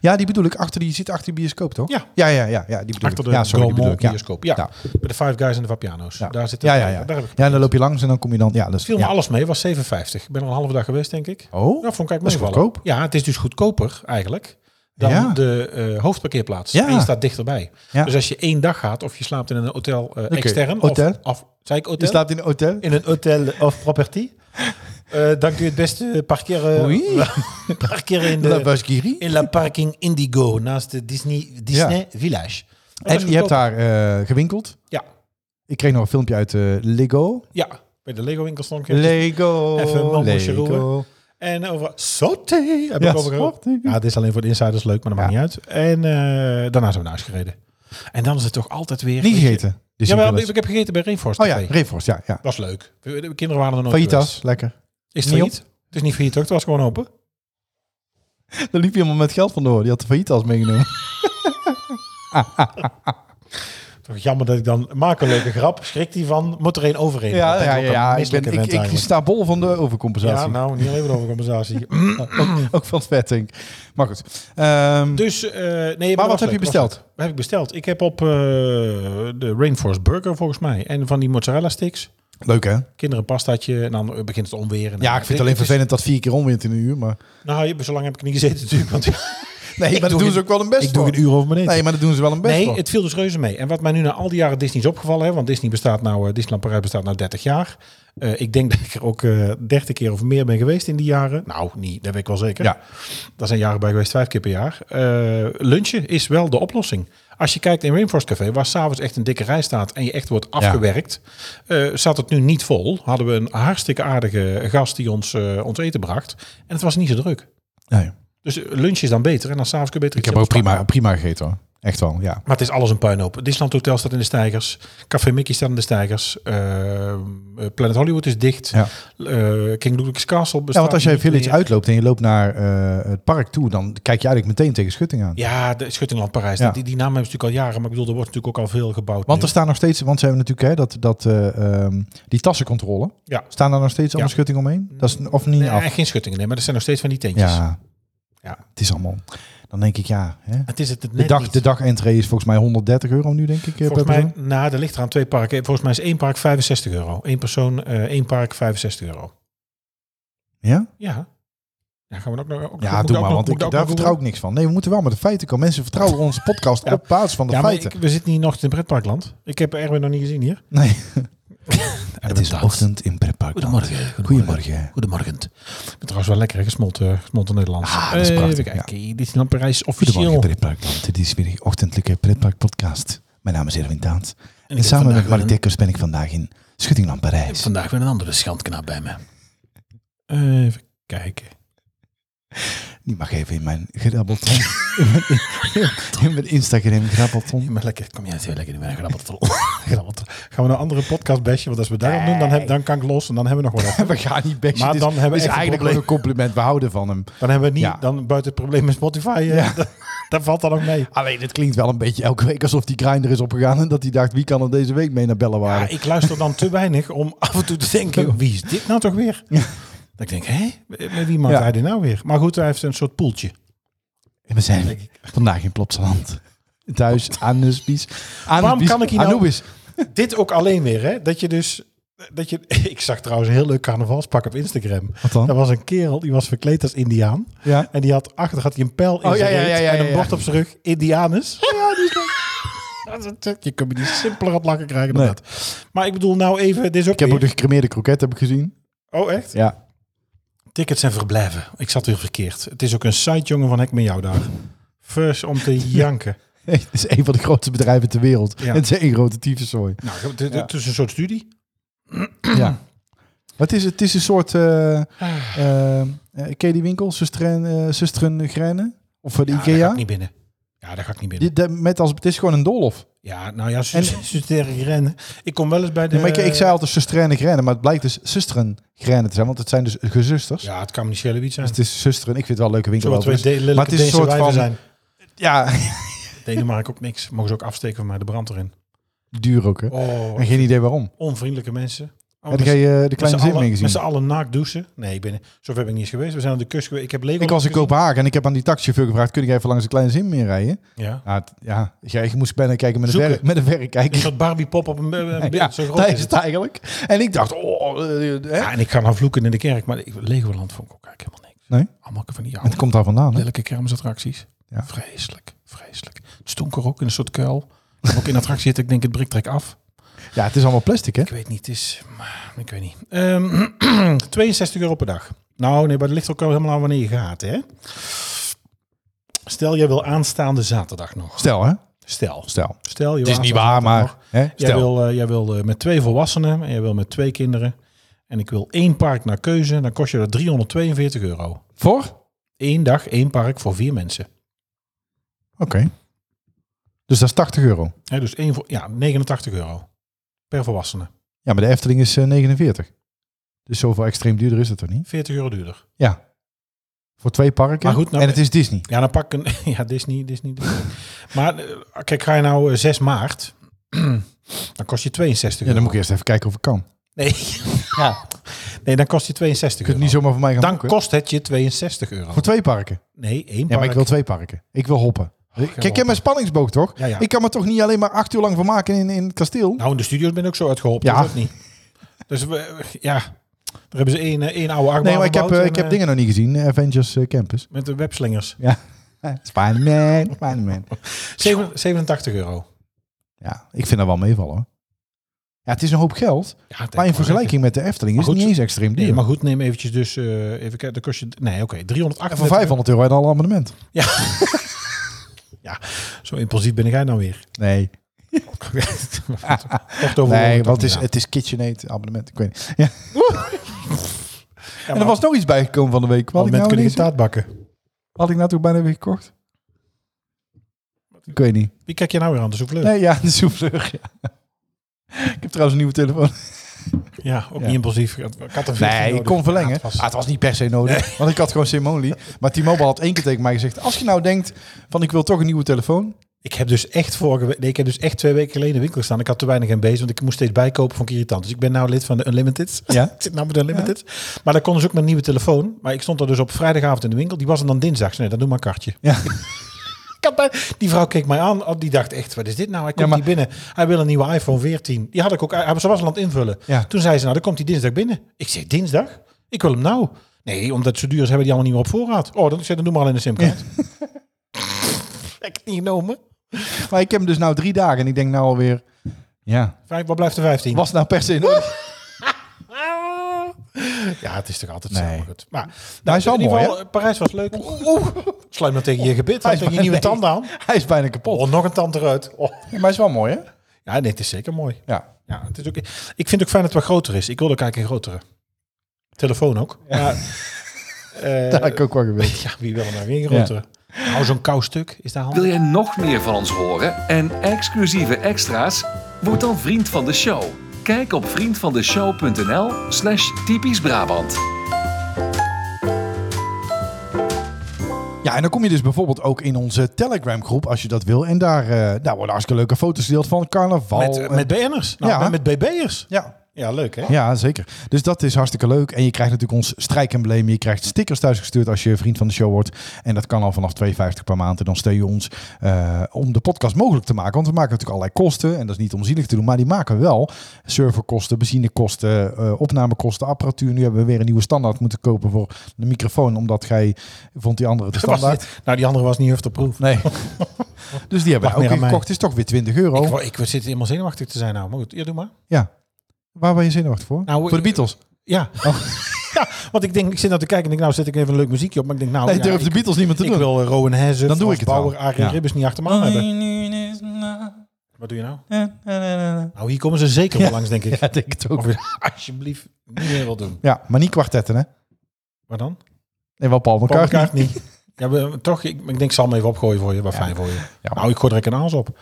S2: Ja, die bedoel ik. Achter die, je zit achter die bioscoop, toch?
S3: Ja.
S2: Ja, ja, ja. ja die bedoel
S3: Achter
S2: ik.
S3: de
S2: ja, sorry, die
S3: Gaumont
S2: bedoel ik. Ja.
S3: bioscoop. Ja.
S2: Ja.
S3: bij de Five Guys en de Vapiano's.
S2: Ja.
S3: Daar zit
S2: Ja,
S3: het-
S2: ja, ja.
S3: Daar heb ik
S2: ja, dan loop je langs en dan kom je dan... Ja, dat is...
S3: viel me
S2: ja.
S3: alles mee. was 7,50. Ik ben al een halve dag geweest, denk ik.
S2: Oh?
S3: Ja, Nou, vond ik eigenlijk
S2: Dat is
S3: meevallen.
S2: goedkoop.
S3: Ja, het is dus goedkoper eigenlijk dan
S2: Ja.
S3: de eh, hoofdparkeerplaats.
S2: Ja.
S3: En je staat dichterbij.
S2: Ja.
S3: Dus als je één dag gaat of je slaapt in een hotel eh, extern.
S2: hotel.
S3: Of, of, zei ik
S2: Je
S3: hotel?
S2: slaapt in een hotel?
S3: in een hotel of property. Eh, dan kun je het beste parkeren,
S2: Oei.
S3: parkeren in,
S2: La
S3: de,
S2: Vasquerie?
S3: in la parking Indigo naast de Disney, Disney Village. Dat
S2: En
S3: was
S2: je hebt
S3: goedkoper.
S2: daar eh, gewinkeld.
S3: Ja,
S2: Ik kreeg nog een filmpje uit eh, Lego.
S3: ja, bij de Lego winkel stond ik.
S2: Lego.
S3: dus Even een bamboesje roeren.
S2: Lego.
S3: En over sauté heb
S2: Ja,
S3: ik over gehoord.
S2: sauté.
S3: Ja, dit is alleen voor de insiders leuk, maar dat
S2: Ja.
S3: maakt niet uit. En eh, daarna zijn we naar huis gereden. En dan is het toch altijd weer...
S2: Niet gegeten. Dus
S3: Ja,
S2: ik wil
S3: maar
S2: eens-
S3: ik heb gegeten bij Rainforest
S2: Oh ja,
S3: Café.
S2: Reforce, ja. ja.
S3: Was leuk. De kinderen waren er nooit geweest.
S2: Fajitas, lekker.
S3: Is het
S2: Niet
S3: failliet? Het is niet failliet, toch? Het was gewoon open.
S2: Daar liep iemand met geld vandoor. Die had de fajitas meegenomen.
S3: Toch jammer dat ik dan maak een leuke grap. Schrikt die van? Moet er één overheen? Dat
S2: Ja,
S3: vind
S2: ja,
S3: ook een
S2: ja. Ik,
S3: misselijk
S2: ben, ik,
S3: event
S2: ik
S3: eigenlijk.
S2: sta bol van de overcompensatie.
S3: Ja, nou, niet alleen over compensatie.
S2: Ook van het vetting. Maar goed. Ehm,
S3: dus, eh, nee,
S2: maar wat heb
S3: was
S2: je
S3: leuk, was
S2: besteld?
S3: leuk. Wat heb ik besteld? Ik heb op eh, de Rainforest Burger volgens mij. En van die mozzarella sticks.
S2: Leuk, hè?
S3: Kinderen een pastaatje. En dan begint het onweer. En
S2: Ja, ik vind het alleen vervelend dat vier keer omwint in een uur. Maar...
S3: Nou, je- zo lang heb ik niet gezeten natuurlijk. Want
S2: Nee, maar dat
S3: doe
S2: doen
S3: een-
S2: ze ook wel een best
S3: ik doe
S2: voor.
S3: een uur over mijn eten.
S2: Nee, maar dat doen ze wel een best
S3: Nee,
S2: voor.
S3: het viel dus reuze mee. En wat mij nu na al die jaren Disney is opgevallen, hè, want Disney bestaat nou, eh, Disneyland Parijs bestaat nou 30 jaar. Eh, ik denk dat ik er ook eh, dertig 30 keer of meer ben geweest in die jaren. Nou, niet, dat weet ik wel zeker.
S2: Ja.
S3: Daar zijn jaren bij geweest, vijf keer per jaar. Eh, lunchen is wel de oplossing. Als je kijkt in Rainforest Café, waar s'avonds echt een dikke rij staat en je echt wordt afgewerkt, eh zat het nu niet vol. Hadden we een hartstikke aardige gast die ons, eh, ons eten bracht. En het was niet zo druk.
S2: Nee.
S3: Dus eh, lunch is dan beter en dan s'avonds kun je beter
S2: Ik heb ook prima, prima gegeten, hoor. Echt wel, ja.
S3: maar het is alles een puinhoop. Disneyland Hotel staat in de stijgers. Café Mickey staat in de stijgers. eh, eh, Planet Hollywood is dicht.
S2: Ja.
S3: Eh, King Ludwig's Castle bestaat
S2: Ja, want als jij
S3: niet
S2: Village
S3: meer.
S2: uitloopt en je loopt naar eh, het park toe, dan kijk je eigenlijk meteen tegen schutting aan.
S3: Ja, de Schuttingland Parijs.
S2: Ja.
S3: Die, die naam hebben ze natuurlijk al jaren. Maar ik bedoel, er wordt natuurlijk ook al veel gebouwd
S2: Want
S3: nu.
S2: er staan nog steeds, want ze hebben natuurlijk hè, dat, dat, eh, ehm, die tassencontrole.
S3: Ja.
S2: Staan daar nog steeds allemaal
S3: Ja.
S2: schutting omheen? Dat is, of niet
S3: Nee,
S2: af?
S3: geen schuttingen, nee, maar er zijn nog steeds van die tentjes.
S2: Ja.
S3: Ja.
S2: Het is allemaal. Dan denk ik ja. Hè.
S3: Het is het net
S2: De, dag,
S3: niet.
S2: de dagentree is volgens mij 130 euro nu, denk ik. eh,
S3: Volgens
S2: per
S3: mij,
S2: persoon.
S3: nou, er ligt er aan twee parken. Volgens mij is één park 65 euro. Eén persoon, eh één park 65 euro.
S2: Ja?
S3: Ja. Ja, gaan we ook nog... Ook, moet ik
S2: Ja,
S3: ook
S2: doe
S3: nog-
S2: maar, want
S3: moet
S2: ik,
S3: ik ook
S2: daar
S3: nog
S2: vertrouw ik niks van. Nee, we moeten wel met de feiten komen. Mensen vertrouwen onze podcast
S3: Ja.
S2: op basis van de
S3: Ja, maar
S2: feiten.
S3: ik, we zitten hier nog in pretparkland. Ik heb Erwin nog niet gezien hier.
S2: Nee.
S3: Het is ochtend.
S2: in pretpark.
S3: Goedemorgen.
S2: Goedemorgen.
S3: Goedemorgen. Ik ben trouwens wel lekker hè, gesmolten, eh, gesmolten Nederlands.
S2: Ah, dat is
S3: Eh,
S2: prachtig,
S3: Even kijken. Dit is dan Parijs
S2: Goedemorgen
S3: officieel.
S2: pretparkland. Dit is weer de ochtendelijke pretpark podcast. Mijn naam is Erwin Taans. En,
S3: heb
S2: samen met
S3: vandaag
S2: Mark
S3: weer
S2: Dekkers ben ik vandaag in Schuttingland Parijs.
S3: Vandaag weer een andere schandknaap bij me. Eh, Even kijken.
S2: Die mag even in mijn grabbelton. in, mijn, in mijn Instagram grabbelton.
S3: Maar lekker, kom jij heel lekker in mijn grabbelt vol. Grabbelt. Gaan we naar een andere podcast bestje? Want als we daarop doen, dan, heb, dan kan ik los en dan hebben we nog wel.
S2: We gaan niet best.
S3: Maar
S2: Maar
S3: dan
S2: dan
S3: hebben
S2: is
S3: we echt een
S2: eigenlijk
S3: probleem.
S2: gewoon een compliment. We houden van hem.
S3: Dan hebben we niet,
S2: Ja.
S3: dan buiten het probleem met Spotify. eh,
S2: Ja.
S3: dat, dat valt dan ook mee.
S2: Alleen, het klinkt wel een beetje elke week alsof die grinder is opgegaan. En dat hij dacht, wie kan er deze week mee naar
S3: Ja,
S2: Bellenwaarde?
S3: Ah, ik luister dan te weinig om af en toe te denken, wie is dit nou toch weer? Dat ik denk, hé, met wie maakt
S2: Ja.
S3: hij dit nou weer? Maar goed, hij heeft een soort poeltje.
S2: En we zijn vandaag in Plopsaland. Thuis, Anubis. Anubis.
S3: kan ik hier nou-
S2: Anubis.
S3: Dit ook alleen weer, hè? Dat je dus... Dat je, ik zag trouwens een heel leuk carnavalspak op Instagram.
S2: Wat dan?
S3: Er was een kerel, die was verkleed als indiaan.
S2: Ja.
S3: En die had achter had hij een pijl in
S2: Oh,
S3: zijn
S2: ja, ja,
S3: reet
S2: ja, ja,
S3: en een
S2: ja.
S3: bord op zijn rug. Indianus. Ja, die is Je kunt me niet simpeler op lachen krijgen dan
S2: Nee.
S3: dat. Maar ik bedoel nou even... Dit is ook
S2: Ik heb ook
S3: weer-
S2: de gecremeerde kroket heb ik gezien.
S3: Oh, echt?
S2: Ja.
S3: Tickets en verblijven. Ik zat weer verkeerd. Het is ook een sitejongen van Hek met jou daar. First om te janken.
S2: Het is een van de grootste bedrijven ter wereld.
S3: Ja.
S2: En Het is één grote tyfuszooi.
S3: Nou, het- het het is een soort studie.
S2: Ja. Maar Het is, het is een soort... eh
S3: Ah.
S2: eh, eh, ken je die winkel? Zusteren, eh Zusteren Grijnen? Of eh, de
S3: Ja, daar ga
S2: Ikea?
S3: ik niet binnen. Ja, daar ga ik niet binnen.
S2: Die- de- met als, het is gewoon een doolhof.
S3: Ja, nou ja, zusterig rennen. Ik kom wel eens bij de...
S2: Ja, maar ik, ik zei altijd zuster en rennen, maar het blijkt dus zusteren rennen te zijn, want het zijn dus gezusters.
S3: Ja, het kan Michelle Wiet zijn.
S2: Dus het is zusteren. Ik vind het wel een leuke winkel.
S3: Zullen we twee
S2: overigens.
S3: de,
S2: maar het is een soort van
S3: zijn.
S2: ja,
S3: Denemarken ook niks. Mogen ze ook afsteken van mij de brand erin.
S2: duur ook hè.
S3: Oh,
S2: En geen idee waarom.
S3: onvriendelijke mensen. Oh,
S2: Heb je eh, de
S3: Met z'n
S2: kleine zin
S3: allen-
S2: mee
S3: Met z'n
S2: gezien?
S3: allen naakt douchen. Nee, ik ben, zover ben ik niet eens geweest. We zijn aan de kust geweest. Ik, heb
S2: Ik was in
S3: koop.
S2: Kopenhagen en ik heb aan die taxichauffeur gevraagd: kun ik even langs de kleine zin meer rijden?
S3: Ja.
S2: Ja, Nou, het- ja, ja, ik moest bijna kijken met een,
S3: Zoeken.
S2: ver, met een verrekijker.
S3: Een soort Barbie pop op een, een beeld.
S2: Ja,
S3: zo groot
S2: dat
S3: is
S2: is
S3: het.
S2: het eigenlijk. En ik dacht, oh, eh, eh, hè?
S3: Ja, en ik ga nou vloeken in de kerk. Maar ik, Legoland vond ik ook eigenlijk helemaal niks.
S2: Nee?
S3: Allemaal van die oude,
S2: het komt daar vandaan. Hè?
S3: lelijke kermisattracties.
S2: Ja.
S3: Vreselijk, vreselijk. Het stonk er ook in een soort kuil. Ik heb ook in de attractie zitten. Ik denk, het brik trek af.
S2: Ja, het is allemaal plastic, hè?
S3: Ik weet niet, het is... maar Ik weet niet. Ehm, 62 euro per dag. Nou, nee, maar dat ligt ook al helemaal aan wanneer je gaat, hè? Stel, jij wil aanstaande zaterdag nog.
S2: Stel, hè?
S3: Stel.
S2: Stel.
S3: Stel, je
S2: Het
S3: wil
S2: is niet
S3: aanstaande
S2: waar, maar
S3: zaterdag nog.
S2: hè?
S3: Jij
S2: stel.
S3: wil, eh, jij wil eh, met twee volwassenen en jij wil met twee kinderen. En ik wil één park naar keuze. Dan kost je dat 342 euro.
S2: Voor? Oké.
S3: Eén dag, één park voor vier mensen.
S2: Dus dat is 80 euro.
S3: Hè, dus één voor, ja, 89 euro per volwassene.
S2: Ja, maar de Efteling is eh, 49. Dus zoveel extreem duurder is het toch niet?
S3: 40 euro duurder.
S2: Ja. Voor twee parken.
S3: Maar goed, nou-
S2: en het is Disney.
S3: Ja, dan pak ik een... Ja, Disney, Disney, Disney. maar eh, kijk, ga je nou eh, 6 maart... dan kost je 62
S2: Ja, dan
S3: euro.
S2: moet ik eerst even kijken of ik kan.
S3: Nee. ja. nee, dan kost je 62
S2: Je kunt
S3: euro.
S2: niet zomaar voor mij gaan
S3: dan
S2: boeken.
S3: kost het je 62 euro.
S2: Voor twee parken.
S3: Nee, één
S2: Ja, maar
S3: park.
S2: ik wil twee parken. Ik wil hoppen. Kijk, ik heb
S3: hoppen.
S2: mijn spanningsboog toch?
S3: Ja, ja.
S2: Ik kan me toch niet alleen maar acht uur lang vermaken in, in het kasteel?
S3: Nou, in de studio's ben ik ook zo uitgeholpen.
S2: Ja.
S3: Ja. niet. Dus we, ja, daar hebben ze één, eh, één oude achtbaan
S2: nee, maar ik heb,
S3: gebouwd
S2: eh,
S3: en,
S2: ik heb
S3: eh,
S2: dingen nog niet gezien. eh, Avengers eh, Campus.
S3: Met de webslingers.
S2: Ja. Spider-Man, Spider-Man.
S3: Zeven- 87 euro.
S2: Ja, ik vind dat wel meevallen hoor. Ja, het is een hoop geld.
S3: Ja, dat
S2: Maar in
S3: kan
S2: vergelijking met de Efteling
S3: Maar
S2: is het
S3: goed,
S2: niet eens extreem
S3: wel. Nee,
S2: duur.
S3: maar goed, neem eventjes dus... eh, even kijken, dan kost je... Nee, oké, 338
S2: En voor 500 euro had je al een abonnement.
S3: Zo impulsief ben jij dan weer.
S2: Nee,
S3: Kort over
S2: nee
S3: honderd
S2: want het is,
S3: euro.
S2: het is KitchenAid abonnement. Ik weet niet. Ja.
S3: Ja,
S2: En
S3: maar
S2: er was nog iets bijgekomen van de week. Wat
S3: op
S2: had ik nou
S3: het moment kun je
S2: ineens-
S3: geen taart bakken.
S2: had ik nou toch bijna weer gekocht? Ik weet niet.
S3: Wie kijk je nou weer aan? De souffleur?
S2: Nee, ja, de souffleur. Ja. Ik heb trouwens een nieuwe telefoon.
S3: Ja, ook
S2: Ja.
S3: niet impulsief. Ik had een 14
S2: Nee, ik
S3: nodig.
S2: kon verlengen.
S3: Ja,
S2: het, was... het was niet per se nodig, want ik had gewoon Simone. Maar T-Mobile had één keer tegen mij gezegd... als je nou denkt van ik wil toch een nieuwe telefoon...
S3: Ik heb dus echt vorige we- nee, ik heb dus echt twee weken geleden in de winkel staan. Ik had te weinig MB's, want ik moest steeds bijkopen van irritant. Dus ik ben nou lid van de Unlimited.
S2: Ja.
S3: ik zit nou met de Unlimited. Maar dan kon dus ook mijn nieuwe telefoon. Maar ik stond er dus op vrijdagavond in de winkel. Die was er dan dinsdags. Nee, dan doe maar een kartje.
S2: Ja.
S3: Ik had bij- Die vrouw keek mij aan. Oh, Die dacht echt, wat is dit nou? Hij komt
S2: Ja,
S3: niet binnen. Hij wil een nieuwe iPhone 14. Die had ik ook. Hij ze was al aan het invullen.
S2: Ja.
S3: Toen zei ze, nou, dan komt hij dinsdag binnen. Ik zeg, dinsdag? Ik wil hem nou. Nee, omdat het zo duur is, hebben die allemaal niet meer op voorraad. Oh, dan, ik zeg, dan doe maar al in de simkaart. Ik heb het niet genomen.
S2: Maar ik heb hem dus nou drie dagen en ik denk nou alweer... Ja,
S3: Vijf, wat blijft de 15?
S2: was het nou per se nodig?
S3: Ja, het is toch altijd
S2: Nee.
S3: zo. maar Goed. Maar, nou,
S2: is wel
S3: in ieder
S2: mooi,
S3: geval, eh, Parijs was leuk. Sluit maar tegen je gebit, want tegen je nieuwe
S2: Nee.
S3: tanden aan.
S2: Hij is bijna kapot.
S3: Oh, nog een tand eruit. Oh.
S2: Ja, maar hij is wel mooi, hè?
S3: Ja, nee, het is zeker mooi.
S2: Ja.
S3: Ja, het is ook, ik vind het ook fijn dat het wat groter is. Ik wilde kijken een grotere. Telefoon ook. Maar, eh,
S2: Dat had ik ook wel gewild.
S3: ja, wie wil er nou geen grotere? Nou, zo'n koustuk is daar handig.
S6: Wil jij nog meer van ons horen en exclusieve extra's? Word dan vriend van de show. Kijk op vriendvandeshow.nl slash typisch Brabant.
S2: Ja, en dan kom je dus bijvoorbeeld ook in onze Telegram-groep als je dat wil. En daar, eh, daar worden hartstikke leuke foto's gedeeld van carnaval.
S3: Met, eh,
S2: en-
S3: met BN'ers. Nou,
S2: Oh, Ja.
S3: met BB'ers.
S2: ja.
S3: Ja, leuk hè?
S2: ja, zeker. Dus dat is hartstikke leuk. En je krijgt natuurlijk ons strijkembleem. Je krijgt stickers thuisgestuurd als je vriend van de show wordt. En dat kan al vanaf 2,50 per maand. En dan steun je ons eh, om de podcast mogelijk te maken. Want we maken natuurlijk allerlei kosten. En dat is niet om zielig te doen, maar die maken we wel. Serverkosten, benzinekosten, eh, opnamekosten, apparatuur. Nu hebben we weer een nieuwe standaard moeten kopen voor de microfoon. Omdat jij vond die andere de
S3: Was
S2: standaard.
S3: dit- nou, die andere was niet hufterproof.
S2: Nee. dus die hebben
S3: Wacht
S2: we ook
S3: meer aan
S2: weer
S3: mij.
S2: gekocht. is toch weer 20 euro.
S3: Ik, wou- ik zit helemaal zenuwachtig te zijn nou. Maar goed, ja, doe maar.
S2: ja. Waar ben je zenuwachtig voor?
S3: Nou,
S2: voor de
S3: eh,
S2: Beatles.
S3: Ja.
S2: Oh.
S3: ja, want ik denk, ik zit nou te kijken en denk, nou zet ik even een leuk muziekje op. Maar ik denk, nou,
S2: nee,
S3: ja,
S2: durft
S3: ik,
S2: de Beatles niemand te
S3: ik
S2: doen.
S3: wil eh, Rowan Hezen,
S2: Dan doe
S3: Frans
S2: ik het
S3: Bauer,
S2: wel.
S3: Arie
S2: Ja.
S3: Ribbes niet achter me aan hebben. Wat doe je nou? Nou, hier komen ze zeker wel langs, denk ik.
S2: Ja, ik denk het ook.
S3: Of je alsjeblieft niet meer wil doen.
S2: Ja, maar niet kwartetten, hè?
S3: Maar dan?
S2: Nee, wel Paul
S3: Paul
S2: elkaar.
S3: niet. Ja, we, toch, ik, ik denk, ik zal hem even opgooien voor je. Wat fijn voor je.
S2: Ja.
S3: Nou, ik gooi er een aars op.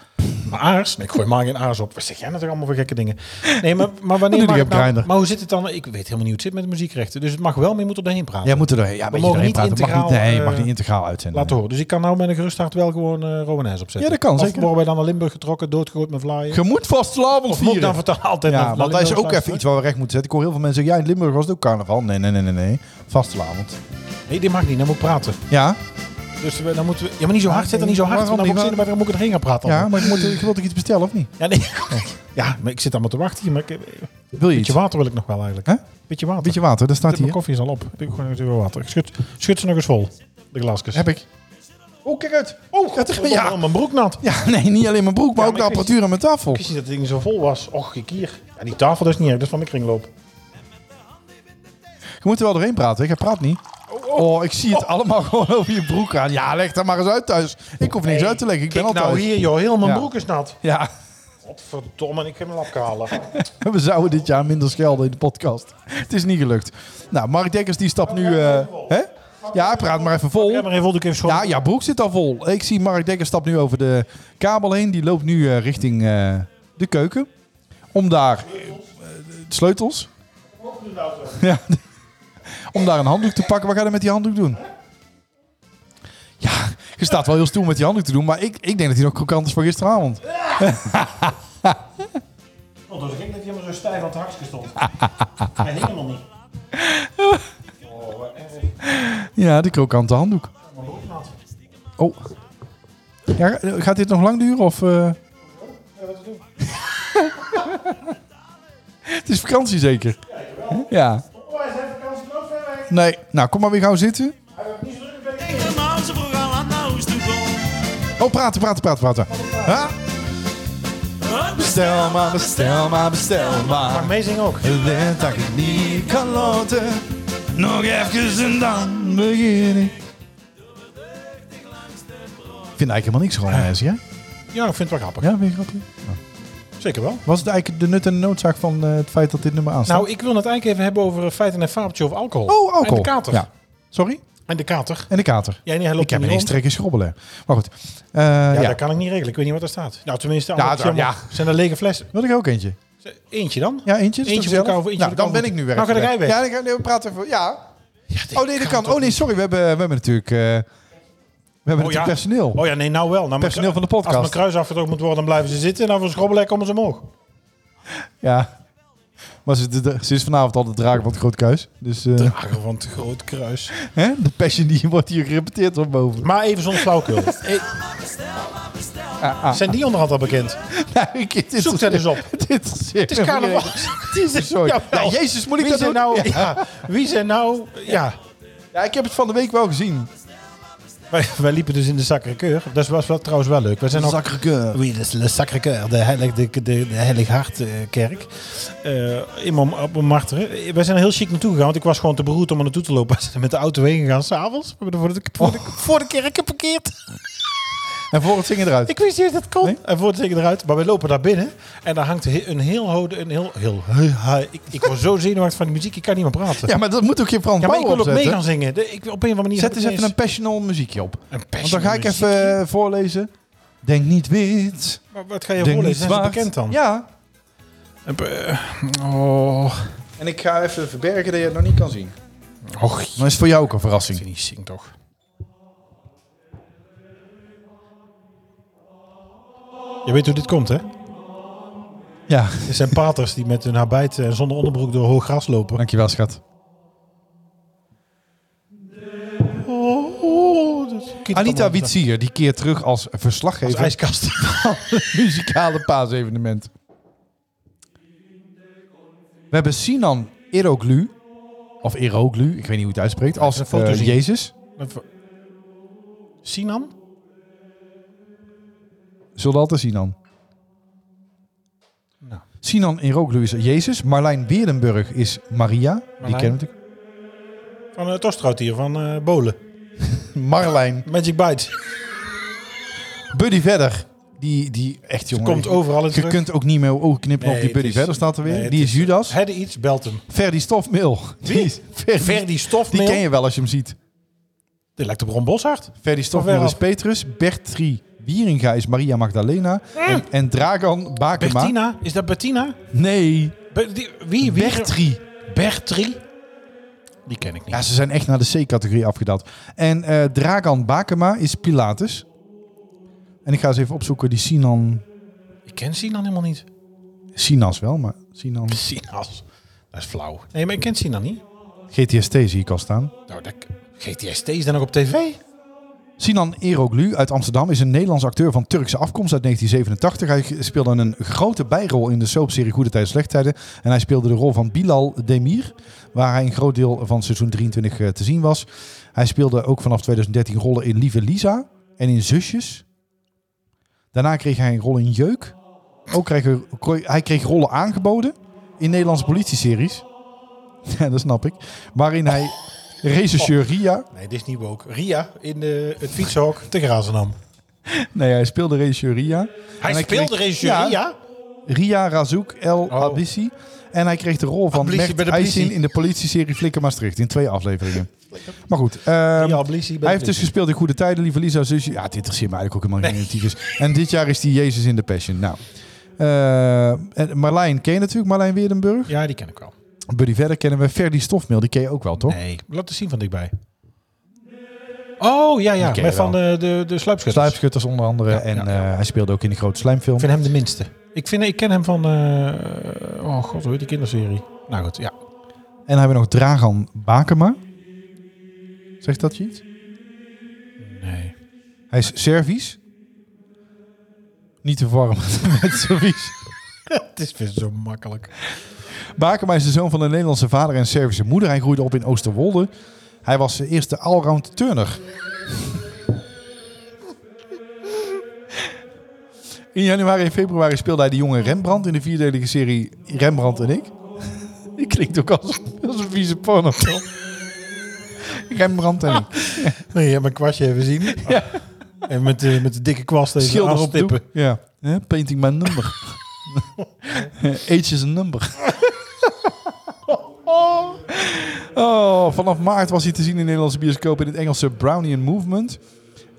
S3: Maar aars? Nee, ik gooi maar geen aars op. Wat zeg jij nou toch allemaal voor gekke dingen? Nee, maar, maar wanneer
S2: doe
S3: mag
S2: ik op
S3: het nou-
S2: Grindr?
S3: Maar hoe zit het dan? Ik weet helemaal niet hoe het zit met de muziekrechten. Dus het mag wel, maar je moet er doorheen praten.
S2: Jij moet er doorheen. Ja, maar je
S3: mogen
S2: doorheen
S3: niet
S2: praten. Mag niet,
S3: integraal,
S2: nee, je mag
S3: eh,
S2: niet integraal uitzenden.
S3: Laten horen. Dus ik kan nou met een gerust hart wel gewoon eh Romanes opzetten.
S2: Ja, dat kan,
S3: Of
S2: zeker.
S3: worden wij dan naar Limburg getrokken, doodgegooid met vlaaien?
S2: Je moet vast slavend
S3: Of moet ik
S2: vieren.
S3: dan vertellen altijd naar-
S2: Ja,
S3: naar
S2: want dat is
S3: Limburg
S2: ook even iets
S3: luisteren?
S2: waar we recht moeten zetten. Ik hoor heel veel mensen zeggen, ja, in Limburg was het ook carnaval. Nee, nee, nee, nee, nee. Vastelavond.
S3: Nee, dit mag niet. Dan moet ik praten.
S2: Ja,
S3: Dus we, dan moeten we... Ja, maar niet zo hard. Zet er niet zo hard.
S2: Waarom
S3: want Dan
S2: niet?
S3: moet ik zin, maar dan moet ik erheen gaan praten.
S2: ja
S3: allemaal.
S2: maar ik, moet, ik wil toch iets bestellen, of niet?
S3: Ja, nee. ja, maar ik zit allemaal te wachten hier. Maar ik,
S2: Wil je iets?
S3: beetje water wil ik nog wel eigenlijk.
S2: Hè?
S3: Beetje water.
S2: Beetje water, dat staat
S3: Zet Mijn
S2: hier.
S3: koffie is al op. Ik doe gewoon even weer water. Ik Schud, schud ze nog eens vol. De glaasjes.
S2: Heb ik. Oh, kijk uit. Oh, gaat er...
S3: Ja.
S2: Ja.
S3: Mijn broek nat.
S2: ja, nee, niet alleen mijn broek, maar
S3: Ja,
S2: ook
S3: maar
S2: de
S3: ik wist-
S2: apparatuur aan mijn tafel.
S3: Ik wist niet dat het ding zo vol was. Och, ik hier. Ja, die tafel dat is niet erg. Dat is van mijn kringloop.
S2: Je moet er wel doorheen praten. Ik praat niet. Oh, ik zie het allemaal gewoon over je broek aan. Ja, leg dat maar eens uit thuis. Ik hoef niks uit te leggen. Ik ben
S3: Kijk
S2: al
S3: nou
S2: thuis.
S3: hier, joh. Heel mijn
S2: Ja.
S3: broek is nat.
S2: Ja,
S3: Wat verdomme. Ik heb mijn lap halen.
S2: we zouden dit jaar minder schelden in de podcast. Het is niet gelukt. Nou, Mark Dekkers die stapt
S3: Oh,
S2: nu... eh, hè? Ja, praat maar even vol.
S3: Ja, maar even wil ik even schoon.
S2: Ja, ja, broek zit al vol. Ik zie Mark Dekker stapt nu over de kabel heen. Die loopt nu eh, richting eh, de keuken. Om daar eh, eh, sleutels. Ja. Om daar een handdoek te pakken. Wat ga je met die handdoek doen? Ja, je staat wel heel stoel met die handdoek te doen. Maar ik, ik denk dat hij nog krokant is van gisteravond.
S3: Oh, dus ik denk dat hij helemaal zo stijf aan het hakje stond. Hij hing nog niet.
S2: Ja, de krokante handdoek. Oh. Ja, gaat dit nog lang duren? Of, eh? Het is vakantie zeker. Ja.
S3: Oh,
S2: Nee, nou kom maar weer gauw zitten.
S1: Denk er maar aan, ze vroeg al aan nou is toe kom.
S2: Oh, praten, praten, praten, praten. Ha?
S1: Hup,
S2: Bestel maar, bestel maar, bestel maar.
S3: Amazing ook.
S2: Let dat ik niet kan laten. Nog even en dan begin ik. Ik vind eigenlijk helemaal niks gewoon mensen, ja?
S3: Ja, ik vind het wel grappig.
S2: Ja, vind je grappig?
S3: Zeker wel.
S2: Was het eigenlijk de nut en de noodzaak van eh, het feit dat dit nummer aanstaat?
S3: Nou, ik wil het eigenlijk even hebben over eh, feiten en fabeltje over alcohol.
S2: oh, alcohol.
S3: En de kater.
S2: Ja. Sorry?
S3: En de kater.
S2: En de kater.
S3: Ja, nee, hij loopt
S2: ik heb
S3: er niet
S2: ineens
S3: rond.
S2: trek in schrobbelen. Maar goed. Eh,
S3: Ja,
S2: ja,
S3: dat kan ik niet regelen. Ik weet niet wat er staat. Nou, tenminste,
S2: Ja,
S3: ja,
S2: daar-
S3: ja. zijn er lege flessen.
S2: Wil ik ook eentje?
S3: Eentje dan?
S2: Ja, eentje. is toch
S3: Eentje voor
S2: gezellig?
S3: elkaar of eentje
S2: nou,
S3: voor
S2: dan
S3: elkaar.
S2: ben ik nu weg.
S3: Nou, ga dan jij weg.
S2: Ja, dan ga nee, we praten even. Ja.
S3: dit
S2: Oh nee, dat kan.
S3: toch
S2: Oh nee, sorry. We hebben, we hebben natuurlijk, eh, we hebben
S3: Oh, ja.
S2: natuurlijk personeel.
S3: Oh ja, nee, nou wel. Nou, mijn
S2: Personeel
S3: kru-
S2: van de podcast.
S3: Als mijn kruis afgedrukt moet worden, dan blijven ze zitten. En dan voor schrobbelen komen ze omhoog.
S2: ja. Maar ze, de- ze is vanavond al de drager van het Groot Kruis. Dus eh,
S3: Dragen van het groot kruis.
S2: hè? de passion die wordt hier gerepeteerd van boven.
S3: Maar even zonder flauwkul.
S2: Ah, ah.
S3: Zijn die onderhand al bekend?
S2: Nou, ik- dit
S3: Zoek dat eens op.
S2: Dit is, het
S3: is carnaval.
S2: Het is Nou, er sorry. Ja,
S3: Jawel.
S2: Jezus, moet ik
S3: Wie
S2: dat
S3: zijn
S2: doen?
S3: nou...
S2: Ja.
S3: Ja, wie zijn nou... Ja.
S2: Ja, ik heb het van de week wel gezien.
S3: Wij, wij liepen dus in de Sacré-Cœur. Dat was wel, trouwens wel leuk. We zijn ook...
S2: Zakkerkeur.
S3: Eh, Oui, dat is Le Sacré-Cœur, de Heilig, de, de, de Heilig Hartkerk. Eh in Mom- op Montmartre. We zijn er heel chic naartoe gegaan, want ik was gewoon te beroerd om er naartoe te lopen. We zijn met de auto heen gegaan, s'avonds. We hebben er voor de, voor, de, voor de kerk geparkeerd.
S2: En voor het zingen eruit.
S3: Ik wist niet dat dat kon.
S2: Nee?
S3: En voor het zeker eruit. Maar we lopen daar binnen en daar hangt he- een heel hode, een heel... heel he- he- ik, ik word zo zenuwachtig van die muziek, ik kan niet meer praten.
S2: Ja, maar dat moet ook geen Frans
S3: Ja, maar ik
S2: Bauer
S3: wil ook mee
S2: opzetten.
S3: gaan zingen. De- ik, op een of andere manier
S2: Zet
S3: heb
S2: eens
S3: ik
S2: even een
S3: ineens-
S2: passional muziekje op.
S3: een
S2: Want dan ga ik even eh, voorlezen. Denk niet wit.
S3: Maar wat ga je
S2: Denk niet
S3: voorlezen? Zijn ze
S2: zwart.
S3: bekend dan?
S2: Ja.
S3: Een eh, pe- Oh...
S2: En ik ga even verbergen dat je het nog niet kan zien.
S3: Och,
S2: Maar is voor jou ook een
S3: Dat
S2: verrassing.
S3: je niet zingt, toch? Je weet hoe dit komt, hè?
S2: Ja.
S3: Het zijn paters die met hun habit en zonder onderbroek door hoog gras lopen.
S2: Dankjewel, schat. Anita Witsier, die keert terug als
S3: Als
S2: verslaggever
S3: ijskast.
S2: muzikale paasevenement. We hebben Sinan Eroglu, of Eroglu, ik weet niet hoe je het uitspreekt, als
S3: een foto
S2: eh,
S3: zien.
S2: Jezus.
S3: Sinan?
S2: Zullen we altijd Sinan?
S3: Nou.
S2: Sinan Eroglu is Jezus. Marlijn Weerdenburg is Maria. Die
S3: Marlijn.
S2: kennen we natuurlijk.
S3: Van het Ostrout hier, van eh, Bolen.
S2: Marlijn.
S3: Magic Bites.
S2: Buddy Verder. Die, die echt jongen.
S3: komt overal in
S2: Je
S3: terug.
S2: kunt ook niet meer ogen knippen
S3: Nee,
S2: op die
S3: het
S2: Buddy
S3: is-
S2: Verder staat er weer.
S3: nee, het
S2: die is
S3: is-
S2: Judas.
S3: Hadden iets, belt hem.
S2: Verdi Stofmeel. Die is Verdi,
S3: Verdi Stofmeel.
S2: Die ken je wel als je hem ziet.
S3: Dit lijkt op Ron Boshart.
S2: Ferdy Stoffel
S3: Van
S2: is
S3: Werf.
S2: Petrus. Bertrie Wieringa is Maria Magdalena. En, en Dragan Bakema.
S3: Bertina? Is dat Bertina?
S2: Nee,
S3: Be- die- wie? wie
S2: Bertrie.
S3: Bertrie? Die ken ik niet.
S2: Ja, ze zijn echt naar de C-categorie afgedaald. En eh, Dragan Bakema is Pilatus. En ik ga eens even opzoeken, die Sinan...
S3: Ik ken Sinan helemaal niet.
S2: Sinas wel, maar Sinan...
S3: Sinas. Dat is flauw. Nee, maar ik ken Sinan niet.
S2: GTST zie ik al staan.
S3: Nou, dat... GTST is dan nog op tv?
S2: Sinan Eroglu uit Amsterdam is een Nederlands acteur van Turkse afkomst uit 1987. Hij speelde een grote bijrol in de soapserie Goede Tijden Slechte Tijden. En hij speelde de rol van Bilal Demir, waar hij een groot deel van seizoen 23 eh, te zien was. Hij speelde ook vanaf 2013 rollen in Lieve Lisa en in Zusjes. Daarna kreeg hij een rol in Jeuk. Ook kreeg hij, hij kreeg rollen aangeboden in Nederlandse politieseries. Ja, dat snap ik. Waarin hij regisseur Ria...
S3: Nee, dit is niet woke. Ria in de, het fietshok te Grazenam.
S2: Nee, hij speelde regisseur Ria.
S3: Hij
S2: hij
S3: speelde
S2: kreeg-
S3: regisseur
S2: Ja.
S3: Ria?
S2: Ria Razouk El
S3: Oh.
S2: Abissi. En hij kreeg de rol van
S3: Ablissi bij
S2: Mert
S3: de politie.
S2: Aysin in de politieserie Flikker Maastricht. In twee afleveringen. Maar goed, ehm,
S3: Ria Ablissi bij de
S2: hij heeft dus
S3: politie.
S2: gespeeld in Goede Tijden, Lieve Lisa, Zusje. Ja, dit interesseert me eigenlijk ook helemaal niet. tyfus. En dit jaar is hij Jezus in de Passion. Nou, eh, en Marlijn ken je natuurlijk, Marlijn Weerdenburg.
S3: Ja, die ken ik wel.
S2: Buddy Verder kennen we. Ferdi Stofmeel, die ken je ook wel, toch?
S3: Nee, laat het zien van dichtbij. Oh, ja, ja.
S2: Die ken
S3: Met
S2: je
S3: van
S2: wel.
S3: de, de, de sluipschutters.
S2: Sluipschutters onder andere.
S3: Ja,
S2: en
S3: ja, ja.
S2: eh, hij speelde ook in de grote slijmfilm.
S3: Ik vind hem de minste. Ik, vind, ik ken hem van... eh, oh god, hoe heet die kinderserie? Nou goed, ja.
S2: En dan hebben we nog Dragan Bakema. Zegt dat je iets?
S3: Nee.
S2: Hij is Servisch. Niet te verwarren met Servies.
S3: Het is weer zo makkelijk.
S2: Bakema is de zoon van een Nederlandse vader en Servische moeder. Hij groeide op in Oosterwolde. Hij was de eerste allround turner. In januari en februari speelde hij de jonge Rembrandt in de vierdelige serie Rembrandt en ik. Die klinkt ook als, als een vieze porno. Rembrandt en ik.
S3: Nee, je hebt mijn kwastje even zien.
S2: Ja.
S3: En met, de- met de dikke kwast even
S2: schilder op
S3: aanstippen.
S2: doek. Ja. Hè, Painting my number. Age is a number. oh, vanaf maart was hij te zien in de Nederlandse bioscoop in het Engelse Brownian Movement.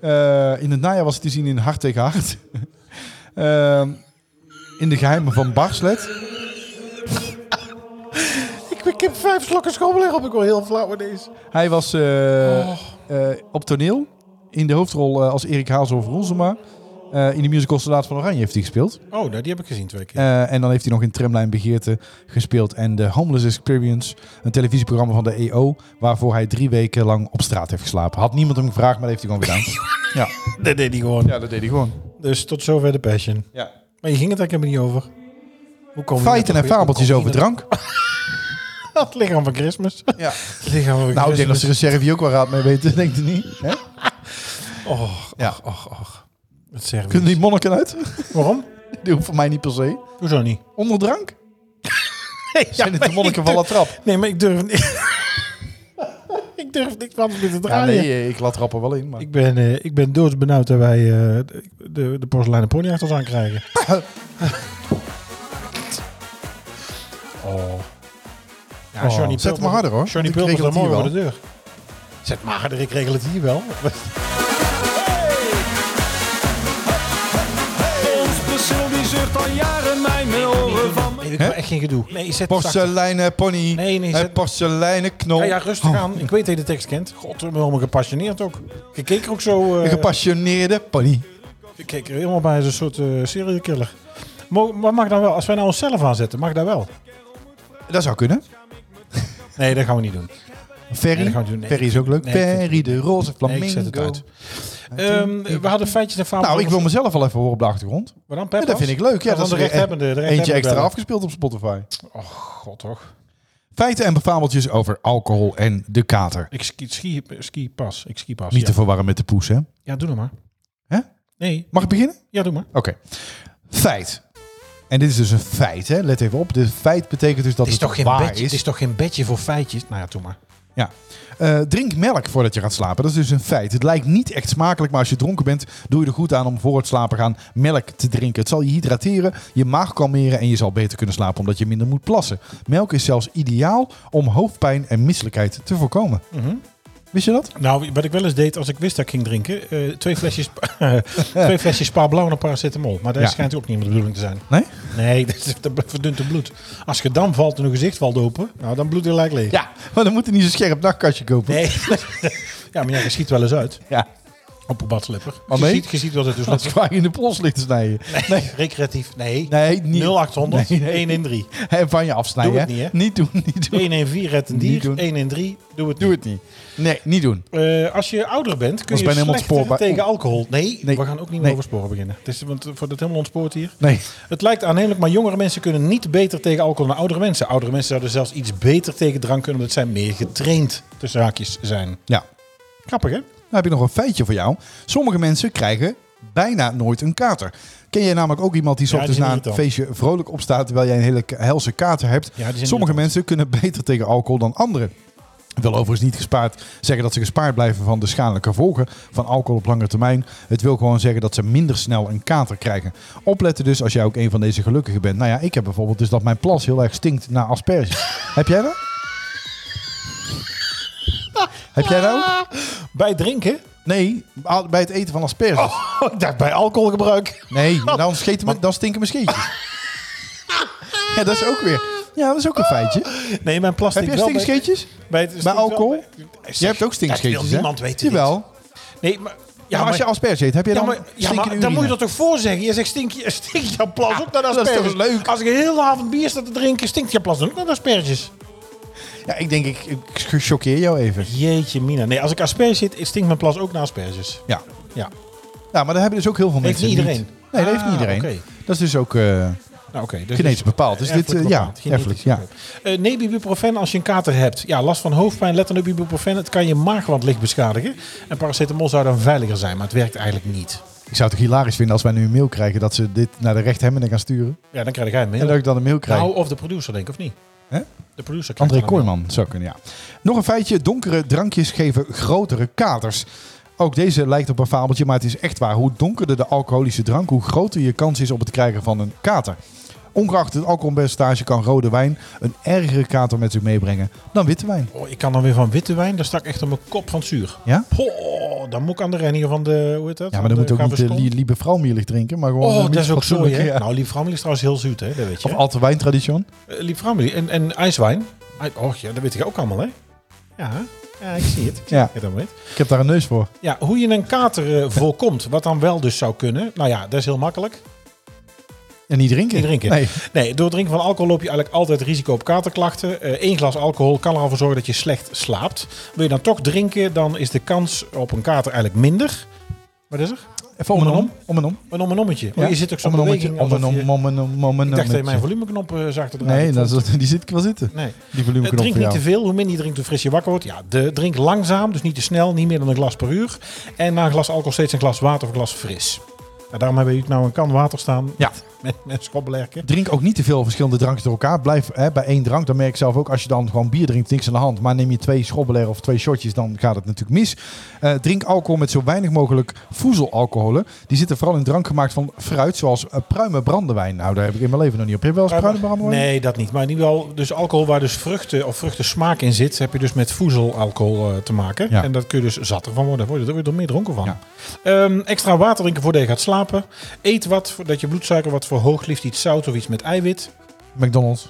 S2: Eh, in het najaar was hij te zien in Hart tegen Hart. Ehm, in de geheimen van Barslet.
S3: Ik, ik heb vijf slokken schommelig op. Ik word heel flauw in deze. Oh.
S2: Hij was eh, eh, op toneel. In de hoofdrol eh, als Erik Haas of Roelsema. Eh, in de musical Soldaat van Oranje heeft hij gespeeld.
S3: Oh, nou, die heb ik gezien twee keer.
S2: Eh, en dan heeft hij nog in Tramlijn Begeerte gespeeld en The Homeless Experience, een televisieprogramma van de EO, waarvoor hij drie weken lang op straat heeft geslapen. Had niemand hem gevraagd, maar dat heeft hij gewoon gedaan. ja.
S3: dat deed hij gewoon.
S2: ja, dat deed hij gewoon.
S3: Dus tot zover de passion.
S2: Ja.
S3: Maar je ging het eigenlijk helemaal niet over. Hoe kom je
S2: Feiten
S3: net
S2: en
S3: op- hoe
S2: fabeltjes
S3: kom
S2: over
S3: je net-
S2: drank.
S3: Het lichaam van Christmas.
S2: Ja.
S3: Het lichaam van
S2: Nou, ik denk dat ze
S3: Christmas.
S2: de Servië ook wel raad mee weten, denk je niet? Hè?
S3: Och,
S2: Ja.
S3: och, och, och. Het zeggen we
S2: Kunnen die
S3: niet.
S2: monniken uit?
S3: Waarom?
S2: Die hoeft voor mij niet per se.
S3: Hoezo niet?
S2: Onder drank? Zijn dit
S3: maar
S2: de monniken
S3: ik
S2: van La
S3: durf-
S2: Trap?
S3: Nee, maar ik durf niet... ik durf niks anders meer te
S2: Ja,
S3: draaien.
S2: nee, eh, ik laat rappen wel in. Maar.
S3: Ik ben, eh, ik ben doodsbenauwd dat wij eh, de, de porseleinen pony achter ons aankrijgen. oh. Ja,
S2: Oh,
S3: Johnny
S2: zet hem maar harder, hoor.
S3: Johnny
S2: Want ik
S3: Pulver
S2: regel het
S3: staat
S2: hier
S3: morgen
S2: wel.
S3: voor de deur. Zet maar harder, ik regel het hier wel.
S1: Ons perceel die zucht al jaren mijn oren van
S3: Nee, ik
S2: Hè?
S3: wil echt geen gedoe. Nee, zet hem zachter.
S2: Porseleinen pony,
S3: Nee, nee,
S2: eh,
S3: zet-
S2: porseleinen knol. Oh,
S3: Ja, ja, rustig aan. Ik weet dat je de tekst kent. God, ik ben helemaal gepassioneerd ook. Ik keek er ook zo...
S2: Een
S3: eh,
S2: gepassioneerde pony.
S3: Ik keek er helemaal bij als een soort eh serial killer. Mo- Maar mag dat wel? Als wij nou onszelf aanzetten, mag dat wel?
S2: Dat zou kunnen.
S3: Nee, dat gaan we niet doen.
S2: Ferry.
S3: Nee, dat gaan we doen. Nee,
S2: Ferry is ook leuk.
S3: nee, ik vind
S2: Ferry,
S3: het-
S2: de roze
S3: Nee,
S2: flamingo.
S3: ik zet het uit. Ehm, we hadden feitjes en fabels.
S2: Nou, ik wil mezelf wel even horen op de achtergrond.
S3: Maar dan
S2: Ja, dat vind ik leuk. Ja, dat is
S3: de
S2: weer e-
S3: rechthebbende. De
S2: Eentje
S3: rechthebbende
S2: extra
S3: bellen.
S2: afgespeeld op Spotify.
S3: Och, god toch.
S2: Feiten en befabeltjes over alcohol en de kater.
S3: Ik ski, ski, ski pas. Ik ski pas.
S2: Niet
S3: ja.
S2: te verwarren met de poes, hè?
S3: ja, doe nou maar.
S2: Hè?
S3: Nee.
S2: Mag ik beginnen?
S3: Ja, doe maar.
S2: Oké. Feit. En dit is dus een feit, hè? Let even op. Dit feit betekent dus dat
S3: Het
S2: het,
S3: is, toch geen
S2: waar
S3: bedje,
S2: is.
S3: het is toch geen bedje voor feitjes? Nou ja, doe maar.
S2: Ja. Eh, drink melk voordat je gaat slapen. Dat is dus een feit. Het lijkt niet echt smakelijk, maar als je dronken bent, doe je er goed aan om voor het slapen gaan melk te drinken. Het zal je hydrateren, je maag kalmeren en je zal beter kunnen slapen omdat je minder
S3: Mhm.
S2: moet plassen. Melk is zelfs ideaal om hoofdpijn en misselijkheid te voorkomen. Wist je dat?
S3: Nou, wat ik wel eens deed als ik wist dat ik ging drinken, eh, twee flesjes, twee flesjes Spa Blauw en een paracetamol. Maar dat
S2: Ja.
S3: schijnt ook niet meer de bedoeling te zijn.
S2: Nee?
S3: Nee, dat, is- dat verdunt het bloed. Als je dan valt en een gezicht valt open, nou dan bloedt het gelijk leeg.
S2: Ja, maar dan moet hij niet zo'n scherp nachtkastje kopen.
S3: Nee. ja, maar ja, je schiet wel eens uit
S2: Ja,
S3: op een badslipper.
S2: Maar
S3: je,
S2: mee?
S3: ziet, je ziet wat het dus
S2: dat
S3: loopt.
S2: is gewoon in de pols ligt te snijden.
S3: Nee, recreatief. Nee.
S2: Nee, niet.
S3: 0800,
S2: Nee, nee.
S3: 1 in 3.
S2: En van je afsnijden.
S3: Doe het niet, hè?
S2: Niet doen, niet doen.
S3: 1 in 4 redt een
S2: Niet
S3: dier,
S2: doen.
S3: 1 in 3 doe het
S2: Doe
S3: niet.
S2: het niet. Nee, niet doen.
S3: Eh, als je ouder bent, kun
S2: Dat is
S3: je
S2: bijna helemaal
S3: slechter
S2: ontspoorbaar.
S3: tegen alcohol. Nee,
S2: Nee.
S3: we gaan ook niet meer
S2: Nee.
S3: over sporen beginnen. Het is, want eh, voordat het helemaal ontspoort hier.
S2: Nee.
S3: Het lijkt aannemelijk, maar jongere mensen kunnen niet beter tegen alcohol dan oudere mensen. Oudere mensen zouden zelfs iets beter tegen drank kunnen, omdat zij meer getraind tussen haakjes zijn.
S2: Ja.
S3: Grappig, hè?
S2: Dan Nou heb ik nog een feitje voor jou. Sommige mensen krijgen bijna nooit een kater. Ken jij namelijk ook iemand die 's
S3: Ja, die
S2: ochtends
S3: zijn
S2: na een
S3: irritant.
S2: feestje vrolijk opstaat terwijl jij een hele k- helse kater hebt?
S3: die zijn
S2: Sommige
S3: irritant.
S2: mensen kunnen beter tegen alcohol dan anderen. Ik wil overigens niet gespaard zeggen dat ze gespaard blijven van de schadelijke gevolgen van alcohol op lange termijn. Het wil gewoon zeggen dat ze minder snel een kater krijgen. Opletten dus als jij ook een van deze gelukkigen bent. Nou ja, ik heb bijvoorbeeld dus dat mijn plas heel erg stinkt naar asperges. heb jij dat? heb jij dat ook?
S3: Bij drinken?
S2: Nee, bij het eten van asperges.
S3: Oh, ik dacht bij alcoholgebruik.
S2: Nee, dan, scheten me, dan stinken mijn scheetjes. ja, dat is ook weer. Ja, dat is ook een feitje.
S3: Nee, mijn plastic
S2: Heb jij
S3: Oh, wel bij-
S2: stinkscheetjes?
S3: bij het- stinkt
S2: Bij
S3: wel
S2: alcohol?
S3: bij- Zeg,
S2: Je hebt ook stinkscheetjes,
S3: Dat
S2: hè?
S3: wil niemand weten. dit.
S2: Jawel.
S3: Nee, maar...
S2: Ja, maar als je asperge eet, heb je
S3: Ja,
S2: dan
S3: maar, ja, maar dan
S2: urine?
S3: moet je dat toch voor zeggen? Je zegt stink je, stink je plas ook naar de
S2: dat is
S3: asperges.
S2: toch leuk?
S3: Als ik een hele avond bier sta te drinken, stinkt je plas dan ook naar de asperges.
S2: Ja, ik denk, ik, ik choqueer jou even.
S3: Jeetje mina. Nee, als ik asperges zit, stinkt mijn plas ook naar asperges.
S2: Ja.
S3: Ja.
S2: ja, maar daar hebben dus ook heel veel
S3: Heeft
S2: mensen
S3: niet iedereen?
S2: Nee, dat heeft niet
S3: Ah,
S2: iedereen.
S3: oké.
S2: Dat is dus ook... eh,
S3: Nou, oké. dus-
S2: Genetisch bepaald. Dus dit, eh,
S3: erfelijk
S2: ja,
S3: bepaald. Genetisch
S2: erfelijk, ja.
S3: bepaald. Eh, neem ibuprofen als je een kater hebt. Ja, last van hoofdpijn, let dan op ibuprofen. Het kan je maagwand licht beschadigen. En paracetamol zou dan veiliger zijn, maar het werkt eigenlijk niet.
S2: ik zou het ook hilarisch vinden als wij nu een mail krijgen dat ze dit naar de rechthemmenden gaan sturen.
S3: Ja, dan krijg jij
S2: En dat
S3: mee.
S2: ik dan een mail krijg.
S3: Nou, of de producer, denk ik, of niet?
S2: Hè?
S3: De producer krijgt
S2: André
S3: dan een mail.
S2: Kooijman zou kunnen, ja. Nog een feitje. Donkere drankjes geven grotere katers. Ook deze lijkt op een fabeltje, maar het is echt waar. Hoe donkerder de alcoholische drank, hoe groter je kans is op het krijgen van een kater. Ongeacht het alcoholpercentage kan rode wijn een ergere kater met zich meebrengen dan witte wijn.
S3: Oh, ik kan dan weer van witte wijn, daar stak ik echt op mijn kop van zuur.
S2: Ja?
S3: Oh, dan moet ik aan de rennier van de, hoe heet dat?
S2: Ja,
S3: Van
S2: maar dan moet ook niet eh, de
S3: Gaviscon.
S2: lie- lieve vrouwmierlich drinken, maar gewoon...
S3: Oh,
S2: een
S3: dat is ook zo,
S2: fatsoenlijke,
S3: hè?
S2: ja.
S3: Nou, Lief Framelie is trouwens heel zoet, hè? Dat weet je.
S2: Of alte wijntradition.
S3: Eh, Lief Framelie en, en ijswijn. Ij- Och, ja, dat weet ik ook allemaal, hè? Ja, ja ik zie het. Ik zie
S2: Ja.
S3: het helemaal niet.
S2: Ik heb daar een neus voor.
S3: Ja, hoe je een kater eh, voorkomt, wat dan wel dus zou kunnen. Nou ja, dat is heel makkelijk.
S2: En niet drinken.
S3: Niet drinken.
S2: Nee.
S3: Nee, door het drinken van alcohol loop je eigenlijk altijd risico op katerklachten. Eén glas alcohol kan er al voor zorgen dat je slecht slaapt. Wil je dan toch drinken, dan is de kans op een kater eigenlijk minder. Wat is er?
S2: Even om en om. Om en om.
S3: Een om en ommetje. Oh, je zit ook zo'n
S2: Om en ommetje,
S3: beweging
S2: Om en
S3: alsof
S2: om,
S3: je-
S2: om en om, om en om.
S3: Ik dacht dat je mijn volumeknop eh, zag te draaien.
S2: Nee, dat is, die zit ik wel zitten.
S3: Nee.
S2: Die volumeknop
S3: drink
S2: voor
S3: niet
S2: jou.
S3: te veel. Hoe minder je drinkt, hoe fris je wakker wordt. Ja, de, drink langzaam, dus niet te snel. Niet meer dan een glas per uur. En na een glas alcohol steeds een glas water of een glas fris. Nou, daarom hebben we nou een kan water staan.
S2: Ja.
S3: Met, met schobbelerken.
S2: Drink ook niet te veel verschillende drankjes door elkaar. Blijf hè, bij één drank. Dan merk ik zelf ook, als je dan gewoon bier drinkt, niks aan de hand. Maar neem je twee schobbeler of twee shotjes, dan gaat het natuurlijk mis. Eh, drink alcohol met zo weinig mogelijk voezelalcoholen. Die zitten vooral in drank gemaakt van fruit, zoals eh, pruimen brandewijn. Nou, daar heb ik in mijn leven nog niet op. Heb je wel eens pruimen brandewijn?
S3: Nee, dat niet. Maar in ieder geval, dus alcohol waar dus vruchten of vruchtensmaak in zit, heb je dus met voezelalcohol eh, te maken.
S2: Ja.
S3: En dat kun je dus zatter van worden. Daar word je er weer meer dronken van.
S2: Ja.
S3: Ehm, extra water drinken voordat je gaat slapen. Eet wat, voordat je bloedsuiker wat verhoogt. Liefst iets zout of iets met eiwit.
S2: McDonald's,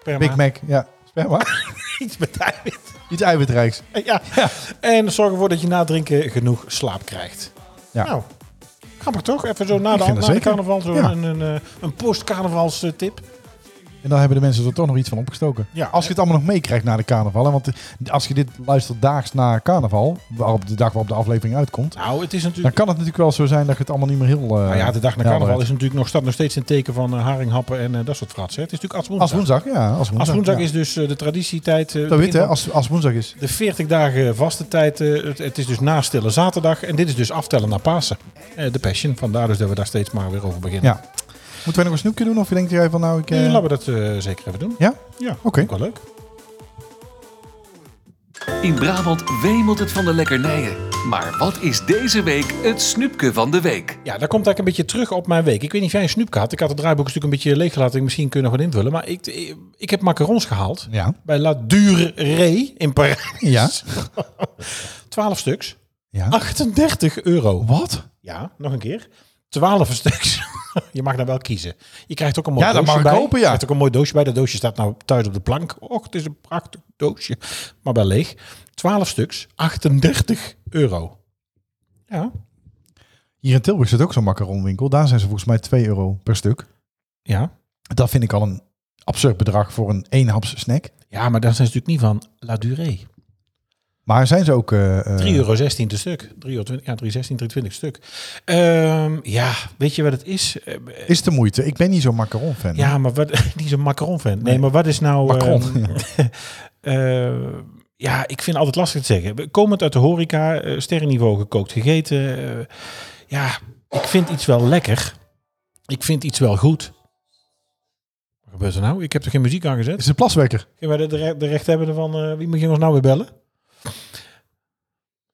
S3: Sperma.
S2: Big Mac, ja. Sperma?
S3: Iets met eiwit.
S2: Iets eiwitrijks.
S3: Eh, Ja. En zorg ervoor dat je na het drinken genoeg slaap krijgt.
S2: Ja.
S3: Nou, grappig toch? Even zo na
S2: Ik
S3: de,
S2: vind
S3: na
S2: dat
S3: de
S2: zeker.
S3: carnaval, zo
S2: Ja.
S3: een, een, eh, een post-carnavals eh, tip.
S2: En dan hebben de mensen er toch nog iets van opgestoken.
S3: Ja.
S2: Als je het allemaal nog meekrijgt na de carnaval. Hè, want eh, als je dit luistert daags na carnaval, waarop de dag waarop de aflevering uitkomt.
S3: Nou, het is
S2: Dan
S3: natuurlijk...
S2: kan het natuurlijk wel zo zijn dat je het allemaal niet meer heel... eh
S3: Nou ja, de dag na carnaval is natuurlijk nog, staat nog steeds in het teken van eh, haringhappen en eh, dat soort fratsen. hè. Het is natuurlijk als
S2: Als
S3: woensdag.
S2: woensdag, ja. Als woensdag,
S3: Als woensdag
S2: ja.
S3: is dus eh, de traditietijd. eh,
S2: Dat weet
S3: begin
S2: hè,
S3: van
S2: als, als woensdag is.
S3: De 40 dagen vaste tijd. eh, het, het is dus na stille zaterdag. En dit is dus aftellen naar Pasen. Eh, de Passion. Vandaar dus dat we daar steeds maar weer over beginnen.
S2: Ja. Moeten wij nog een snoepje doen? Of denk jij van nou, ik... eh,
S3: Eh, laten we dat eh, zeker even doen.
S2: Ja?
S3: Ja,
S2: Oké.
S3: ook wel leuk.
S6: In Brabant wemelt het van de lekkernijen. Maar wat is deze week het snoepje van de week?
S3: Ja, daar komt eigenlijk een beetje terug op mijn week. Ik weet niet of jij een snoepje had. Ik had het draaiboek natuurlijk een beetje leeggelaten. Misschien kun je nog wat invullen. Maar ik, ik, ik heb macarons gehaald.
S2: Ja.
S3: Bij La Durée in Parijs.
S2: Ja.
S3: 12 stuks.
S2: Ja.
S3: 38 euro.
S2: Wat?
S3: Ja, nog een keer. 12 stuks. je mag daar wel kiezen. Je krijgt ook een mooi
S2: Ja, dat
S3: doosje
S2: mag ik
S3: bij.
S2: hopen, ja.
S3: Je krijgt ook een mooi doosje bij. Dat doosje staat nou thuis op de plank. Och, het is een prachtig doosje. Maar wel leeg. 12 stuks. 38 euro. Ja.
S2: Hier in Tilburg zit ook zo'n macaronwinkel. Daar zijn ze volgens mij 2 euro per stuk.
S3: Ja.
S2: Dat vind ik al een absurd bedrag voor een eenhaps snack.
S3: Ja, maar daar zijn ze natuurlijk niet van La Durée. 3,16
S2: Maar zijn ze ook... eh, eh,
S3: euro te stuk. 3,20 euro, ja, 3,16, 3,20 stuk. Ehm, ja, weet je wat het is? Eh,
S2: Is de moeite. Ik ben niet zo'n macaron fan.
S3: ja, maar wat, niet zo'n macaron-fan. Nee, maar wat is nou...
S2: Macaron.
S3: ehm, eh, ja, ik vind het altijd lastig te zeggen. Komend uit de horeca, eh, sterrenniveau gekookt gegeten. eh, ja, ik vind iets wel lekker. Ik vind iets wel goed. Wat gebeurt er nou? Ik heb er geen muziek aan gezet.
S2: Is het een plaswekker?
S3: Kunnen wij de, re- de rechthebbende van eh, wie moet je ons nou weer bellen?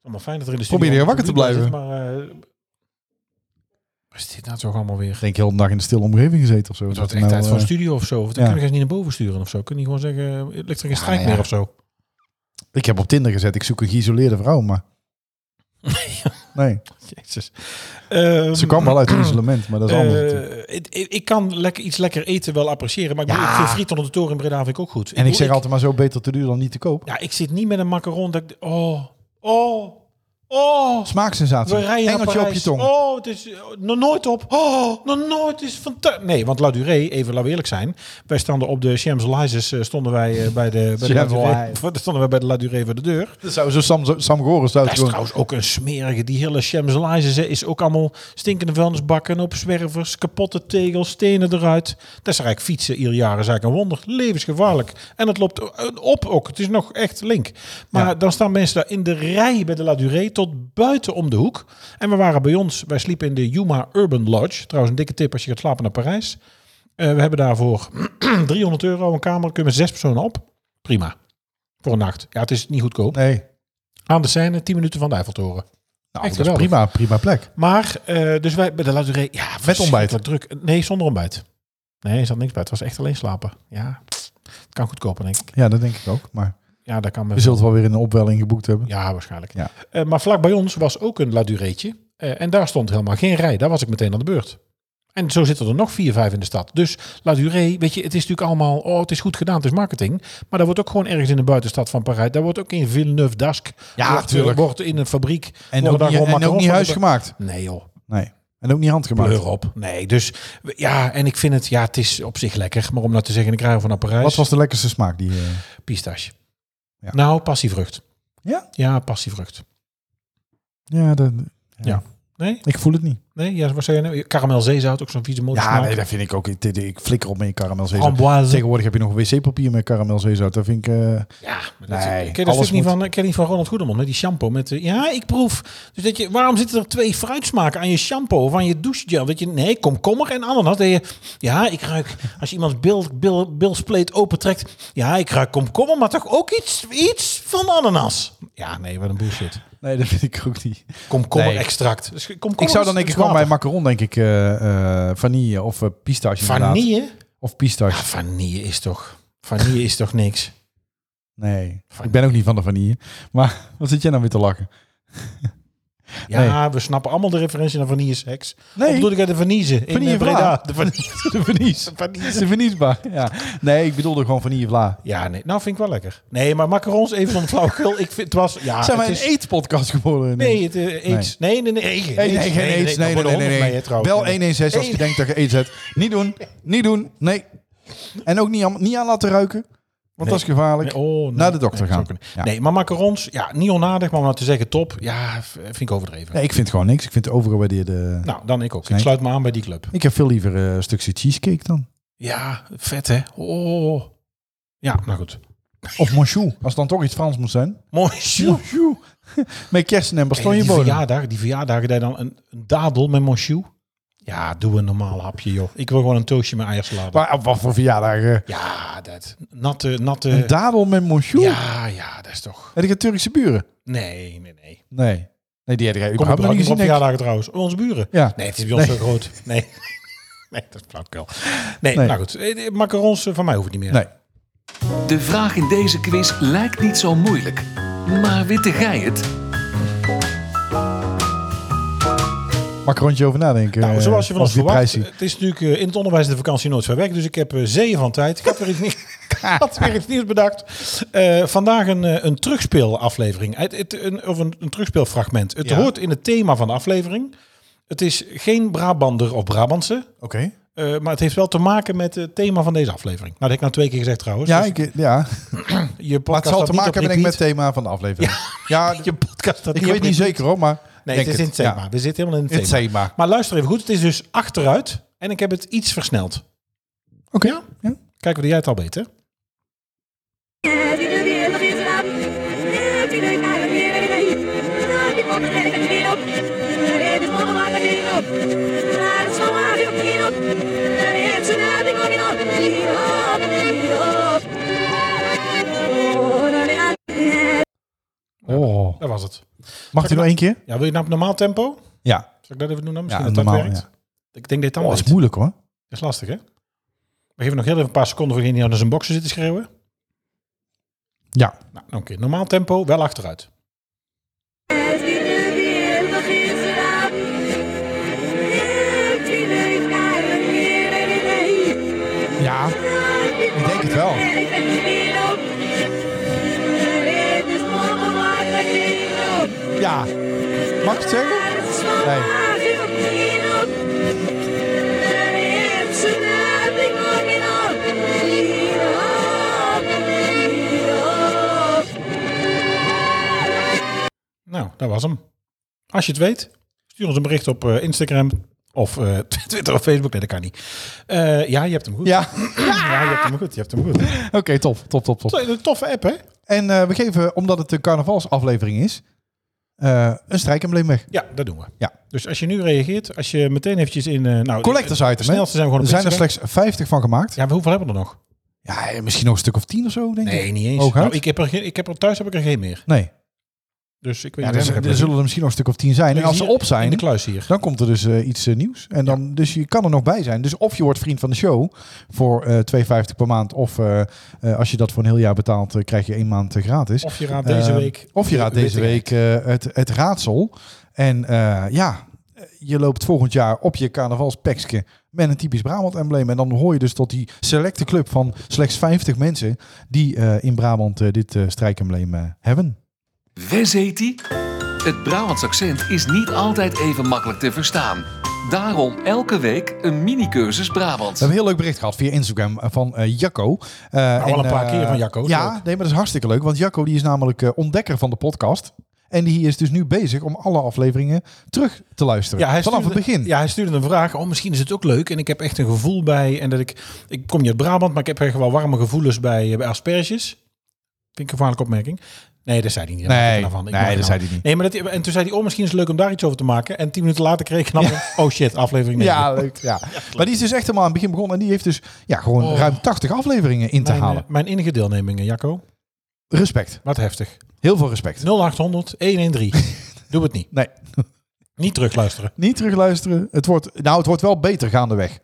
S3: Allemaal fijn dat er in de studio
S2: Probeer je
S3: allemaal
S2: wakker te
S3: publiek bij zit, maar, eh, wat is dit nou toch allemaal weer?
S2: Ik denk heel de dag in de stille omgeving gezeten of zo.
S3: Het wordt
S2: er
S3: echt tijd
S2: nou,
S3: voor een
S2: eh,
S3: studio of zo. Of dan
S2: ja.
S3: kunnen we ze niet naar boven sturen of zo. Kunnen die gewoon zeggen, eh, ligt er geen strijk
S2: nou ja.
S3: meer of zo?
S2: Ik heb op Tinder gezet. Ik zoek een geïsoleerde vrouw, maar... nee.
S3: Jezus. Ehm,
S2: Ze kwam wel uit het isolement, maar dat is
S3: eh,
S2: anders. natuurlijk.
S3: het- ik, ik kan lekker, iets lekker eten wel appreciëren. Maar ik,
S2: Ja.
S3: bedoel, ik vind friet onder de toren in Breda vind ik ook goed.
S2: En ik
S3: bedoel,
S2: zeg altijd maar zo beter te duur dan niet te koop.
S3: Ja, ik zit niet met een macaron dat ik... Oh, oh, oh.
S2: Smaaksensatie.
S3: We rijden naar
S2: Engeltje op je
S3: Parijs.
S2: tong.
S3: Oh, het is eh, nog nooit op. Oh, nog nooit Het is fantastisch. Nee, want La Durée, even laten we eerlijk zijn. Wij stonden op de Champs-Élysées, eh, stonden wij eh, bij de, bij de La Durée,
S2: Champs-Élysées.
S3: voor- stonden wij bij de La Durée voor de deur.
S2: Dat zou zo Sam, zo- Sam Goren zou het
S3: Dat is
S2: gewoon...
S3: trouwens ook een smerige. Die hele Champs-Élysées eh, is ook allemaal stinkende vuilnisbakken op zwervers, kapotte tegels, stenen eruit. Dat is eigenlijk fietsen ieder jaar is eigenlijk een wonder. Levensgevaarlijk. En het loopt eh, op ook. Het is nog echt link. Maar
S2: Ja.
S3: dan staan mensen daar in de rij bij de La Durée tot buiten om de hoek. En we waren bij ons, wij sliepen in de Yuma Urban Lodge. Trouwens een dikke tip als je gaat slapen naar Parijs. Eh, we hebben daarvoor 300 euro een kamer. Kunnen we zes personen op. Prima. Voor een nacht. Ja, het is niet goedkoop.
S2: Nee.
S3: Aan de scène, 10 minuten van de
S2: Nou,
S3: Eiffeltoren. Echt
S2: dat is
S3: geweldig.
S2: prima, prima plek.
S3: Maar, eh, dus wij bij de La Durée, ja,
S2: ontbijt.
S3: verschrikkelijk druk. Nee, zonder ontbijt. Nee, er zat niks bij. Het was echt alleen slapen. Ja, het kan goedkoper, denk ik.
S2: Ja, dat denk ik ook. Maar
S3: Ja, daar kan men
S2: je zult wel weer een opwelling geboekt hebben.
S3: Ja, waarschijnlijk.
S2: Ja.
S3: Eh, maar vlak bij ons was ook een La Dureetje. Eh, en daar stond helemaal geen rij. Daar was ik meteen aan de beurt. En zo zitten er nog vier, vijf in de stad. Dus La Durée, weet je, het is natuurlijk allemaal... Oh, het is goed gedaan, het is marketing. Maar dat wordt ook gewoon ergens in de buitenstad van Parijs. Daar wordt ook in Villeneuve d'Ascq.
S2: Ja,
S3: wordt,
S2: tuurlijk.
S3: Wordt in een fabriek...
S2: En
S3: worden
S2: ook,
S3: daar
S2: niet, en
S3: gewoon
S2: ook
S3: macarons
S2: niet
S3: van
S2: huisgemaakt.
S3: gemaakt. Nee joh,
S2: Nee. En ook niet handgemaakt.
S3: pleur op. Nee, dus we- ja, en ik vind het... Ja, het is op zich lekker. Maar om nou te zeggen, ik rij van naar Parijs...
S2: Wat was de lekkerste smaak die... eh,
S3: pistache?
S2: Ja.
S3: Nou, passievrucht.
S2: Ja?
S3: Ja, passievrucht.
S2: ja, dat,
S3: Nee?
S2: ik voel het niet.
S3: Nee, ja, wat zei je nou? Karamel zeezout, ook zo'n vieze motor.
S2: Ja, nee, dat vind ik ook. Ik, dit- ik flikker op met je karamelzeezout.
S3: Amboise.
S2: Tegenwoordig heb je nog wc-papier met karamelzeezout. Dat vind ik... eh,
S3: Ja, maar dat,
S2: Nee,
S3: ik ken dat
S2: alles
S3: stuk niet
S2: moet-
S3: van, ik ken die van Ronald Goedemond met die shampoo. Met, de- ja, ik proef. Dus dat je, waarom zitten er twee fruitsmaken aan je shampoo of aan je douchegel? Dat je, nee, komkommer en ananas. Dat je, ja, ik ruik, als je iemands bil, bil, bilspleet opentrekt. Ja, ik ruik komkommer, maar toch ook iets, iets van ananas. Ja, nee, wat een bullshit.
S2: nee, dat vind ik ook niet.
S3: Komkommer
S2: Nee.
S3: extract. Dus komkommer
S2: Ik zou dan
S3: is-
S2: denk ik
S3: is
S2: gewoon bij
S3: water.
S2: macaron, denk ik, eh, eh, vanille of eh, pistache inderdaad.
S3: Vanille? Ah,
S2: Of pistache.
S3: Ja, vanille is toch... Vanille is toch niks?
S2: Nee,
S3: Van-
S2: ik ben ook niet van de vanille. Maar wat zit jij nou weer te lachen?
S3: Ja, we snappen allemaal de referentie naar Vanille Seks.
S2: Nee.
S3: Of bedoel ik uit de Vanille in
S2: Vanille
S3: eh, Breda?
S2: Vlaar.
S3: De Vanille.
S2: De vernies. De verniesbaar, ja. Nee, ik bedoelde gewoon vanille vla.
S3: Ja, nee. Nou, vind ik wel lekker. Nee, maar macarons even om flauwekul. Ik vind het was... Ja,
S2: Zijn wij
S3: het
S2: een
S3: is-
S2: eetpodcast geworden?
S3: Nee, het, eh, AIDS. Nee, nee, nee. Nee,
S2: Nee, nee, geen aids. Nee, nee, nee. nee, nee. Wel 116 als je
S3: Eén.
S2: denkt dat je aids hebt. Niet doen. Niet doen. Nee. En ook niet aan, niet aan laten ruiken. Want dat is gevaarlijk.
S3: oh, nee.
S2: Naar de dokter
S3: Nee, dat
S2: gaan.
S3: is ook niet.
S2: Ja.
S3: Nee, maar macarons, ja, niet onaardig, maar om nou te zeggen top, ja, v- vind ik overdreven.
S2: Nee, ik vind gewoon niks. Ik vind het overgewaardeerde...
S3: Nou, dan ik ook. Ik
S2: Nee.
S3: sluit me aan bij die club.
S2: Ik heb veel liever eh, een stukje cheesecake dan.
S3: Ja, vet hè. Oh. Ja, nou goed.
S2: Of monchou. Als het dan toch iets Frans moet zijn.
S3: Mooi. Sjoe.
S2: Monchou. Met kersen en
S3: Hey, die
S2: bastonjebodem.
S3: verjaardag, die verjaardagen daar dan een, een dadel met monsieur. Ja, doe een normaal hapje, joh. Ik wil gewoon een toastje met eiersalade.
S2: Maar op wat voor verjaardag? eh?
S3: Ja, dat natte, natte.
S2: Een dadel met monchou?
S3: ja, ja, dat is toch.
S2: Heb ik een Turkse buren?
S3: Nee, nee, nee.
S2: Nee. Nee, die had ik
S3: Kom op,
S2: überhaupt nog
S3: op
S2: niet gezien. denk ik.
S3: verjaardagen trouwens. Onze buren.
S2: Ja.
S3: Nee, het is bij ons
S2: Nee.
S3: zo groot. Nee. nee, dat is flauwkul. Nee,
S2: Nee.
S3: nou goed. Eh, de Macarons eh, van mij hoeft niet meer.
S2: Nee.
S6: De vraag in deze quiz lijkt niet zo moeilijk. Maar witte jij het?
S2: Mag ik er rondje over nadenken?
S3: Nou,
S2: eh,
S3: zoals je van
S2: als
S3: ons
S2: die
S3: verwacht.
S2: prijs zie.
S3: Het is natuurlijk eh, in het onderwijs de vakantie nooit ver weg. Dus ik heb eh, zeeën van tijd. Ik had weer iets, nie- ik had weer iets nieuws bedacht. Eh, vandaag een, eh, een terugspeelaflevering. Het, het, een, of een, een terugspeelfragment. Het
S2: Ja.
S3: hoort in het thema van de aflevering. Het is geen Brabander of Brabantse.
S2: Oké.
S3: eh, maar het heeft wel te maken met het thema van deze aflevering. Nou, dat heb ik nou twee keer gezegd trouwens.
S2: Ja,
S3: dus
S2: ik, ja.
S3: je
S2: Maar
S3: podcast
S2: het zal
S3: staat
S2: te
S3: niet
S2: maken
S3: op
S2: hebben denk ik, met
S3: repeat.
S2: het thema van de aflevering. Ja,
S3: Je podcast staat
S2: ik
S3: niet op
S2: weet niet
S3: repeat.
S2: zeker hoor, maar...
S3: Nee,
S2: denk
S3: het is in het
S2: Ja.
S3: thema. We zitten helemaal in
S2: In
S3: het
S2: het
S3: thema.
S2: thema.
S3: Maar luister even goed. Het is dus achteruit. En ik heb het iets versneld.
S2: Oké. Ja.
S3: Kijk, wat jij het al weet, hè?
S2: Oh.
S3: Dat was het.
S2: Mag hij nog één keer?
S3: Ja, wil je nou op normaal tempo?
S2: Ja.
S3: Zal ik dat even doen dan?
S2: Ja,
S3: Misschien dat
S2: normaal,
S3: dat werkt.
S2: ja.
S3: Ik denk dat het
S2: Oh,
S3: dan
S2: dat is
S3: is.
S2: moeilijk hoor.
S3: Dat is lastig, hè? We geven nog heel even een paar seconden voor iedereen aan zijn boxen zitten schreeuwen.
S2: Ja.
S3: Nou, oké. Normaal tempo, wel achteruit.
S2: Ja.
S7: Ik
S2: denk het wel. Ja. Mag ik het zeggen? Nee.
S3: Nou, dat was hem. Als je het weet, stuur ons een bericht op eh, Instagram of eh, Twitter of Facebook. Nee, dat kan niet. Eh, ja, je hebt hem goed.
S2: Ja.
S3: Ja, je hebt hem goed. Je hebt hem goed. Het
S2: Oké, top, top, top, top.
S3: is Een toffe app, hè?
S2: En eh, we geven, omdat het een carnavalsaflevering is, eh, een strijkembleem weg.
S3: Ja, dat doen we.
S2: Ja.
S3: Dus als je nu reageert, als je meteen eventjes in... eh nou,
S2: Collectors
S3: de- de
S2: item, hè?
S3: snelste zijn we
S2: Er
S3: gewoon op
S2: zijn er
S3: Instagram.
S2: slechts 50 van gemaakt.
S3: Ja, maar hoeveel hebben we er nog?
S2: Ja, eh, misschien nog een stuk of 10 of zo, denk ik.
S3: Nee, niet eens.
S2: Hooguit?
S3: Nou, ik heb er geen, ik heb er, thuis heb ik er geen meer.
S2: Nee.
S3: Dus ik weet
S2: Ja,
S3: niet.
S2: dus
S3: waar-
S2: er, er zullen er misschien nog een stuk of 10 zijn. En als ze
S3: Hier
S2: op
S3: In de
S2: zijn,
S3: kluis hier.
S2: dan komt er dus eh, iets eh, nieuws. En dan, Dus je kan er nog bij zijn. Dus of je wordt vriend van de show voor eh 2,50 per maand. Of eh, eh, als je dat voor een heel jaar betaalt, eh, krijg je één maand eh, gratis.
S3: Of je raadt deze
S2: Eh,
S3: week.
S2: Of je raadt
S3: de
S2: deze
S3: witte
S2: week eh, het, het raadsel. En eh, ja, je loopt volgend jaar op je carnavalspeksje met een typisch Brabant-embleem. En dan hoor je dus tot die selecte club van slechts 50 mensen die eh, in Brabant eh, dit eh, strijkembleem eh, hebben.
S6: Wes heet die? Het Brabants accent is niet altijd even makkelijk te verstaan. Daarom elke week een mini-cursus Brabant.
S2: We hebben een heel leuk bericht gehad via Instagram van eh, Jacco. Eh,
S3: al Nou, een
S2: en,
S3: paar
S2: eh,
S3: keer van Jacco, is
S2: Ja, nee,
S3: leuk.
S2: maar dat is hartstikke leuk. Want Jacco die is namelijk eh, ontdekker van de podcast. En die is dus nu bezig om alle afleveringen terug te luisteren.
S3: Ja, hij
S2: Vanaf het
S3: stuurde-
S2: begin.
S3: Ja, hij stuurde een vraag. Oh, misschien is het ook leuk. En ik heb echt een gevoel bij. En dat ik. Ik kom niet uit Brabant, maar ik heb echt wel warme gevoelens bij, eh, bij asperges. Vind ik een gevaarlijke opmerking. Nee, dat zei hij niet.
S2: Nee,
S3: Ik maak
S2: nee,
S3: het nou.
S2: dat zei hij niet.
S3: Nee, maar dat, en toen zei hij, oh, misschien is het leuk om daar iets over te maken. En tien minuten later kreeg ik een andere- Oh shit, aflevering negen.
S2: Ja, leuk. Ja. Maar die is dus echt helemaal aan het begin begonnen. En die heeft dus ja, gewoon
S3: Oh.
S2: ruim 80 afleveringen in te
S3: Mijn, eh,
S2: halen.
S3: mijn innige deelnemingen, Jacco.
S2: Respect.
S3: Wat heftig.
S2: Heel veel respect.
S3: 0800 113. Doe het niet.
S2: Nee,
S3: Niet terugluisteren.
S2: niet terugluisteren. Het wordt, nou, het wordt wel beter gaandeweg.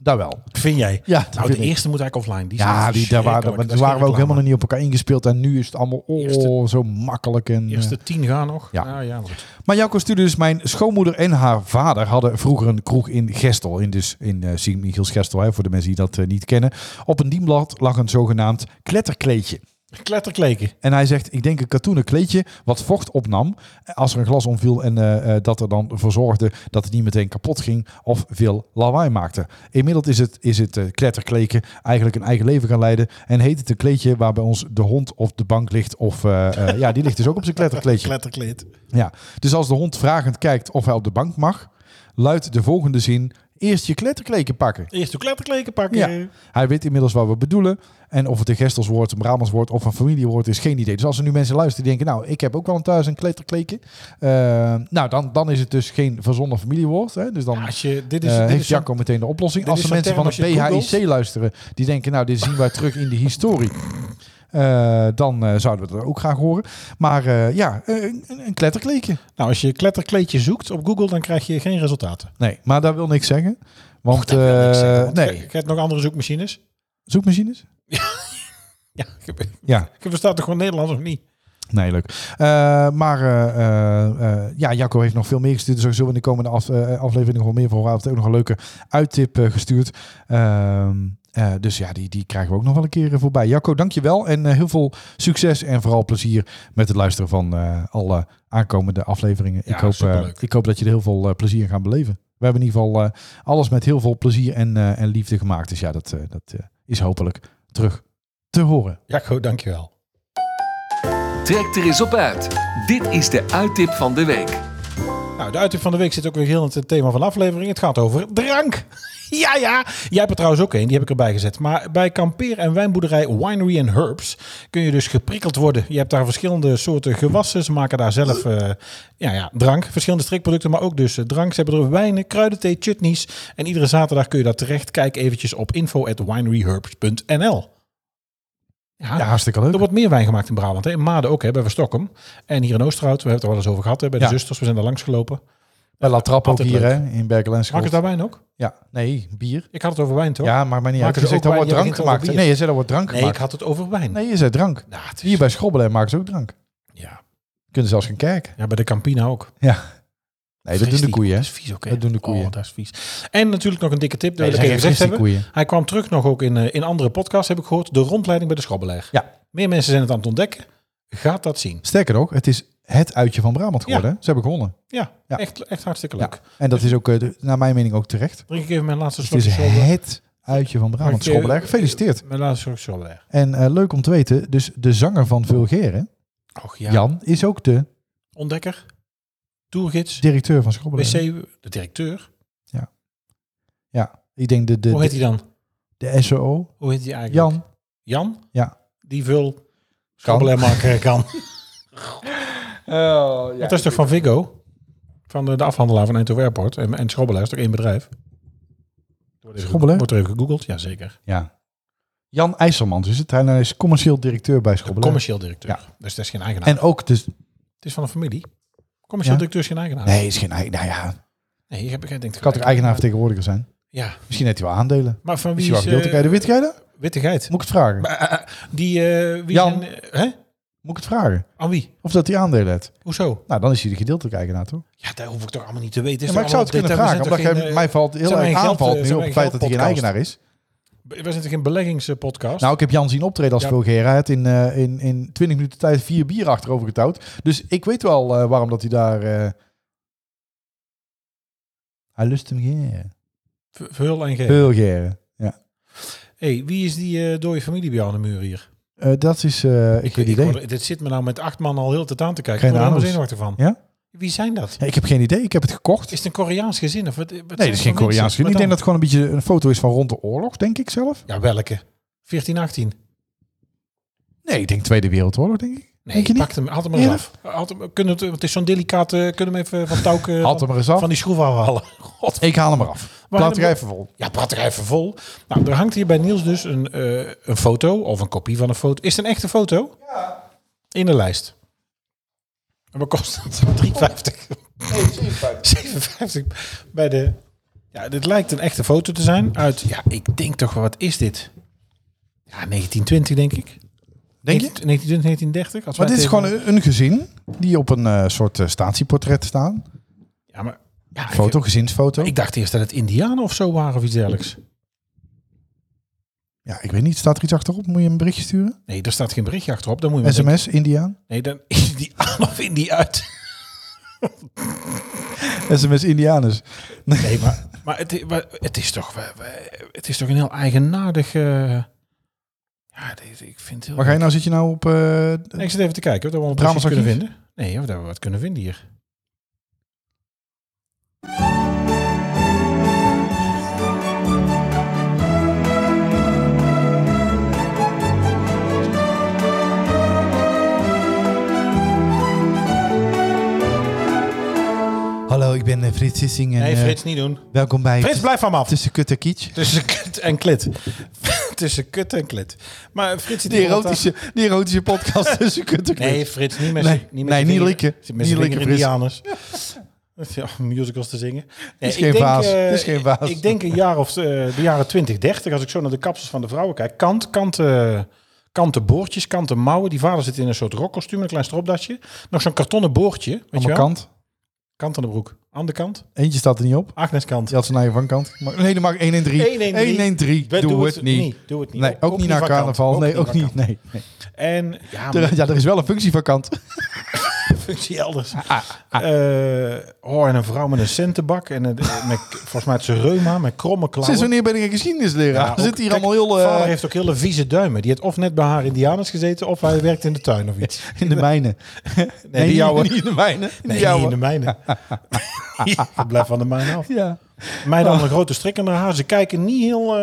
S2: Daar wel.
S3: Vind jij?
S2: Ja, dat
S3: Nou,
S2: vind
S3: de
S2: ik.
S3: eerste moet eigenlijk offline. Die
S2: Ja, die, daar waren, maar toen waren we ook helemaal nog niet op elkaar ingespeeld. En nu is het allemaal oh,
S3: Eerste-
S2: zo makkelijk. En, eh.
S3: Eerste tien gaan nog. Ah,
S2: Ja.
S3: ja, ja maar goed.
S2: Maar Jacco stuurde dus... Mijn schoonmoeder en haar vader hadden vroeger een kroeg in Gestel. In, dus, in eh, Sint-Michiels Gestel, hè, voor de mensen die dat eh, niet kennen. Op een dienblad lag een zogenaamd kletterkleedje.
S3: Kletterkleken.
S2: En hij zegt, ik denk een katoenen kleedje wat vocht opnam als er een glas omviel en eh, eh, dat er dan voor zorgde dat het niet meteen kapot ging of veel lawaai maakte. Inmiddels is het, is het eh, kletterkleken eigenlijk een eigen leven gaan leiden en heet het een kleedje waar bij ons de hond op de bank ligt of eh, eh, ja, die ligt dus ook op zijn kletterkleedje.
S3: Kletterkleed.
S2: Ja. Dus als de hond vragend kijkt of hij op de bank mag, luidt de volgende zin, eerst je kletterkleken pakken.
S3: Eerst de kletterkleken pakken.
S2: Ja. Hij weet inmiddels wat we bedoelen. En of het een Gestelswoord, een Brabantswoord of een familiewoord is, geen idee. Dus als er nu mensen luisteren die denken, nou, ik heb ook wel een thuis een kletterkleedje. Eh, nou, dan, dan is het dus geen verzonnen familiewoord. Hè? Dus dan
S3: Als je, dit
S2: eh,
S3: is, dit
S2: heeft
S3: is zo'n-
S2: Jacco meteen de oplossing.
S3: dit
S2: Als
S3: is
S2: er
S3: zo'n
S2: mensen van
S3: term
S2: het
S3: als je
S2: BHIC luisteren, die denken, nou, dit zien wij terug in de historie. eh, dan eh, zouden we dat ook graag horen. Maar eh, ja, eh, een, een kletterkleedje.
S3: Nou, als je kletterkleedje zoekt op Google, dan krijg je geen resultaten.
S2: Nee, maar dat wil niks zeggen. Want,
S3: Dat wil ik zeggen, want
S2: eh,
S3: Je
S2: nee,
S3: hebt nog andere zoekmachines.
S2: zoekmachines?
S3: Ja, je-
S2: Ja,
S3: je verstaat toch gewoon Nederlands of niet?
S2: nee, leuk. Eh, maar eh, eh, eh, ja, Jacco heeft nog veel meer gestuurd. Dus sowieso in de komende af, eh, aflevering nog wel meer voor horen. Hij heeft ook nog een leuke uittip eh, gestuurd. Ehm, eh, dus ja, die, die krijgen we ook nog wel een keer eh, voorbij. Jacco, dankjewel. En eh, heel veel succes en vooral plezier met het luisteren van eh, alle aankomende afleveringen.
S3: Ja,
S2: ik, hoop, eh,
S3: superleuk.
S2: ik hoop dat je er heel veel eh, plezier gaan beleven. We hebben in ieder geval eh, alles met heel veel plezier en, eh, en liefde gemaakt. Dus ja, dat, eh, dat eh, is hopelijk terug te horen.
S3: Jacco, dankjewel.
S6: Trek er eens op uit. Dit is de uittip van de week.
S3: Nou, de uittip van de week zit ook weer heel in het thema van de aflevering. Het gaat over drank. Ja, ja. Jij hebt er trouwens ook een, die heb ik erbij gezet. Maar bij kampeer- en wijnboerderij Winery and Herbs kun je dus geprikkeld worden. Je hebt daar verschillende soorten gewassen. Ze maken daar zelf eh, ja, ja, drank. Verschillende strikproducten, maar ook dus eh, drank. Ze hebben er wijnen, kruidenthee, chutneys. En iedere zaterdag kun je daar terecht. Kijk eventjes op info.wineryherbs.nl. Ah,
S2: Ja, hartstikke leuk.
S3: Er wordt meer wijn gemaakt in Brabant. Hè? In Maden ook, hè, bij Verstokkum. En hier in Oosterhout, we hebben het er wel eens over gehad. Hè, bij de
S2: Ja.
S3: zusters, we zijn daar langs gelopen.
S2: Bij La Trappe ook
S3: Altijd
S2: hier,
S3: leuk.
S2: hè? In Berkel en
S3: Mag
S2: Schot.
S3: ik daar wijn ook?
S2: Ja, nee, bier.
S3: Ik had het over wijn, toch?
S2: Ja, maakt mij niet uit.
S3: Maken
S2: Je
S3: ze
S2: zegt,
S3: ook
S2: daar wordt
S3: wijn?
S2: drank
S3: Je
S2: gemaakt.
S3: begint over
S2: Nee, je zegt, daar wordt drank
S3: nee, ik
S2: gemaakt.
S3: had het over wijn.
S2: Nee, je zegt drank.
S3: Ja, het is-
S2: Hier bij Schobbelen maken ze ook drank.
S3: ja.
S2: Kunnen zelfs gaan kijken.
S3: ja, bij de Campina ook.
S2: Ja. Nee, dat
S3: Fris
S2: doen de
S3: die-
S2: koeien, hè?
S3: Dat is vies ook, hè?
S2: Dat doen de koeien.
S3: Oh, dat is vies. En natuurlijk nog een dikke tip. Dat
S2: Nee,
S3: wil
S2: dat
S3: ik
S2: zijn
S3: even
S2: geen
S3: gezegd hebben.
S2: fris die
S3: Hij kwam terug nog ook in, eh, in andere podcasts, heb ik gehoord. De rondleiding bij de Schobbeleg.
S2: Ja.
S3: Meer mensen zijn het aan het ontdekken. Gaat dat zien.
S2: Sterker nog, het is het uitje van Brabant geworden. hè? Ze hebben gewonnen.
S3: Ja,
S2: Ja.
S3: Echt, echt hartstikke
S2: Ja.
S3: leuk.
S2: En dat is ook, eh, de- naar mijn mening, ook terecht.
S3: Drink ik even mijn laatste
S2: Het
S3: slokje
S2: is
S3: Schobbeleg.
S2: het uitje van
S3: Mag ik,
S2: Brabant.
S3: eh,
S2: Schobbelen, gefeliciteerd.
S3: Mijn laatste slokje Schobbeleg.
S2: En eh, leuk om te weten, dus de zanger van Vulgaire,
S3: Och ja.
S2: Jan, is ook de
S3: Ontdekker. Tourgids.
S2: directeur van Schobbelen.
S3: wc, de directeur.
S2: Ja, ik denk de, de,
S3: Hoe heet hij
S2: de,
S3: dan?
S2: de SOO.
S3: Hoe heet hij eigenlijk?
S2: Jan,
S3: Jan?
S2: ja.
S3: die veel schabbelen maken kan. dat is toch van Vigo? Van de, de afhandelaar van Eindhoven Airport. En, en Schobbelaar is toch één bedrijf? Wordt even-
S2: Schobbelaar?
S3: Wordt er even gegoogeld? Jazeker.
S2: Ja. Jan IJsselmans is het. Hij is commercieel directeur bij Schobbelen.
S3: Commercieel directeur.
S2: Ja.
S3: Dus dat is geen eigenaar.
S2: En ook dus...
S3: het is van een familie. Commercieel
S2: Ja.
S3: directeur is geen eigenaar.
S2: Nee, is geen eigen. Nou ja,
S3: Nee, je hebt geen denkt.
S2: kan toch eigenaar vertegenwoordiger zijn?
S3: Ja,
S2: Misschien heeft hij wel aandelen.
S3: maar van wie
S2: Misschien wel
S3: is...
S2: gedeelte.
S3: eh,
S2: Krijg je de wit krijgen?
S3: witte geit.
S2: Moet ik het vragen?
S3: Maar, eh, die... eh, wie
S2: Jan.
S3: zijn, eh, hè?
S2: Moet ik het vragen?
S3: Aan wie?
S2: Of dat hij aandelen heeft?
S3: Hoezo?
S2: Nou, dan is hij de gedeeltelijke eigenaar, toch?
S3: Ja, daar hoef ik toch allemaal niet te weten. Is
S2: Ja, maar ik
S3: toch
S2: zou het
S3: allemaal
S2: kunnen
S3: detail?
S2: vragen. Omdat
S3: We zijn toch
S2: jij mij valt heel
S3: zijn wij
S2: erg
S3: een geld,
S2: aanvalt
S3: eh,
S2: nu
S3: zijn
S2: op
S3: wij
S2: het feit dat
S3: een
S2: hij geen
S3: geldpodcast?
S2: eigenaar is.
S3: geen, eh, we zijn toch geen beleggingspodcast?
S2: Nou, ik heb Jan zien optreden als
S3: Ja.
S2: Vulgaire. Hij had in, eh, in, in 20 minuten tijd vier bier achterover getouwd. Dus ik weet wel eh, waarom dat hij daar... eh, Hij lust hem geen.
S3: V- Vul en geef.
S2: Vulgaire.
S3: Hé, hey, wie is die eh, dode familie bij jou aan de muur hier?
S2: Eh, dat is... eh, ik, weet
S3: ik
S2: niet. idee.
S3: word- dit zit me nou met acht man al heel de tijd aan te kijken.
S2: Geen
S3: ik word er
S2: anus.
S3: helemaal zenuwachtig van.
S2: Ja?
S3: Wie zijn dat?
S2: Ja, ik heb geen idee. Ik heb het gekocht.
S3: Is het een Koreaans gezin? Of wat, wat zijn
S2: nee, dat
S3: het
S2: is
S3: voor
S2: geen Koreaans
S3: mensen?
S2: gezin. Ik denk dat
S3: Wat
S2: het gewoon een beetje een foto is van rond de oorlog, denk ik zelf.
S3: dan? Ja, welke? 1418.
S2: Nee, ik denk Tweede Wereldoorlog, denk ik.
S3: Nee,
S2: denk je niet?
S3: pak hem, haal hem maar eens af. Haal hem, kunnen we het, het is zo'n delicate... Kunnen we even van touw... eh,
S2: Haal
S3: van,
S2: hem er eens af.
S3: van die schroef afhalen. God.
S2: Ik haal hem eraf.
S3: Waar-
S2: Laat er even vol.
S3: Ja, praat er even vol. Nou, er hangt hier bij Niels dus een, eh, een foto of een kopie van een foto. Is het een echte foto? Ja. In de lijst. En wat kost het? 3,50. 57 bij de. Ja, dit lijkt een echte foto te zijn. Uit, ja, ik denk toch wel, wat is dit? Ja, 1920 denk ik.
S2: Denk je?
S3: 1920, 1930. Als
S2: Maar
S3: wij
S2: dit is
S3: tegen-
S2: gewoon een, een gezin die op een eh, soort eh, statieportret staan.
S3: Ja, maar. Ja,
S2: Foto, gezinsfoto.
S3: Ah, Ik, ik dacht eerst dat het Indianen of zo waren of iets dergelijks.
S2: ja, ik weet niet. Staat er iets achterop? Moet je een berichtje sturen?
S3: Nee, daar staat geen berichtje achterop. Dan moet je maar denken,
S2: SMS, Indiaan.
S3: Nee, dan is die aan of in die uit.
S2: SMS, Indianus.
S3: Nee, maar, maar, het, i- maar het is toch, we- we- het is toch een heel eigenaardig. eh, ja, dit- ik vind het heel.
S2: Waar ga je nou? Zit je nou op... eh,
S3: Nee, ik zit even te kijken of we wat
S2: Brabants
S3: precies kunnen
S2: archief?
S3: vinden. Nee, of dat we wat kunnen vinden hier.
S2: Hallo, ik ben eh, Frits Sissing. En,
S3: Nee,
S2: eh,
S3: Frits, niet doen.
S2: welkom bij
S3: Frits, blijf van me af.
S2: Tussen Kut en Kitsch.
S3: Tussen kut en klit. tussen kut en klit. Maar Frits die
S2: Die
S3: rolt daar-
S2: erotische, die erotische podcast tussen kunt en
S3: Nee,
S2: kut.
S3: Frits, niet met
S2: Nee.
S3: z'n- niet
S2: Nee, niet likken.
S3: Met
S2: Niet
S3: z'n
S2: likken,
S3: vinger in
S2: Frits.
S3: die anus. Ja, om musicals te zingen. Nee,
S2: is geen vaas.
S3: eh,
S2: Het is geen vaas.
S3: Ik denk een jaar of eh, de jaren 20, 30, als ik zo naar de kapsels van de vrouwen kijk. Kant, kanten, kanten boordjes, kanten mouwen. Die vader zit in een soort rockkostuum, een klein stropdasje. Nog zo'n kartonnen boordje. Weet
S2: Aan mijn
S3: je wel?
S2: kant.
S3: Kant aan de broek. Aan de kant.
S2: Eentje staat er niet op.
S3: Agnes kant.
S2: Die had zijn eigen vankant. Maar, nee, dat mag 1 en 3.
S3: 1 en 3.
S2: 1 en 3.
S3: We
S2: Doe,
S3: doen
S2: het niet.
S3: Doe het niet.
S2: Nee, ook, niet naar
S3: vakant.
S2: carnaval. Nee, ook niet.
S3: vakant.
S2: Nee. nee.
S3: En ja, maar
S2: Er, ja, er is wel een functie vakant.
S3: functie elders.
S2: Ah,
S3: Eh, oh, en een vrouw met een centenbak. En een, met, volgens mij het ze reuma, met kromme klauwen.
S2: Sinds wanneer ben ik een geschiedenisleraar? Er
S3: Ja, ook-
S2: zit hier
S3: kijk,
S2: allemaal heel eh,
S3: Vader heeft ook hele vieze duimen. Die heeft of net bij haar indianers gezeten, of hij werkt in de tuin of iets.
S2: in de mijnen.
S3: Nee, die jouwe.
S2: niet in de mijnen. Die
S3: Nee,
S2: jouwe.
S3: niet in de mijne. Blijf van de mijne af.
S2: Ja.
S3: Mij dan een grote strik in haar haar. Ze kijken niet heel... eh,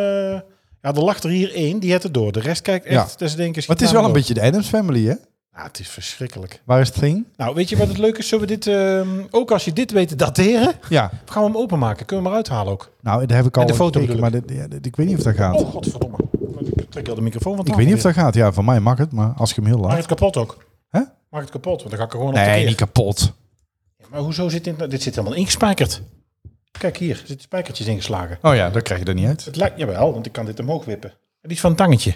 S3: Ja, er lacht er hier één, die heeft het door. De rest kijkt echt,
S2: Ja.
S3: dat ze denken...
S2: Maar het is wel een beetje de Adams Family, hè?
S3: Ja, het is verschrikkelijk.
S2: Waar is het ding?
S3: Nou, weet je wat het leuke is? Zullen we dit, ehm, ook als je dit weet te dateren,
S2: Ja.
S3: gaan we hem openmaken. Kunnen we hem eruit halen ook.
S2: Nou, daar heb ik al
S3: En de
S2: een
S3: foto
S2: gekeken, maar
S3: bedoel
S2: dit- ja, dit- ik weet niet of dat gaat.
S3: Oh, godverdomme. Ik trek al de microfoon van
S2: ik weet niet of dat gaat. Ja, van mij mag het, maar als je hem heel
S3: Maak
S2: laat.
S3: het kapot ook.
S2: Hè?
S3: Maak het kapot, want dan ga ik er gewoon op
S2: Nee,
S3: tekeer.
S2: niet kapot.
S3: Maar hoezo zit dit? nou- Dit zit helemaal ingespijkerd. Kijk hier, er zitten spijkertjes ingeslagen.
S2: Oh ja, dat krijg je er niet uit.
S3: Het lijkt jawel, want ik kan dit omhoog wippen. En iets van een tangetje.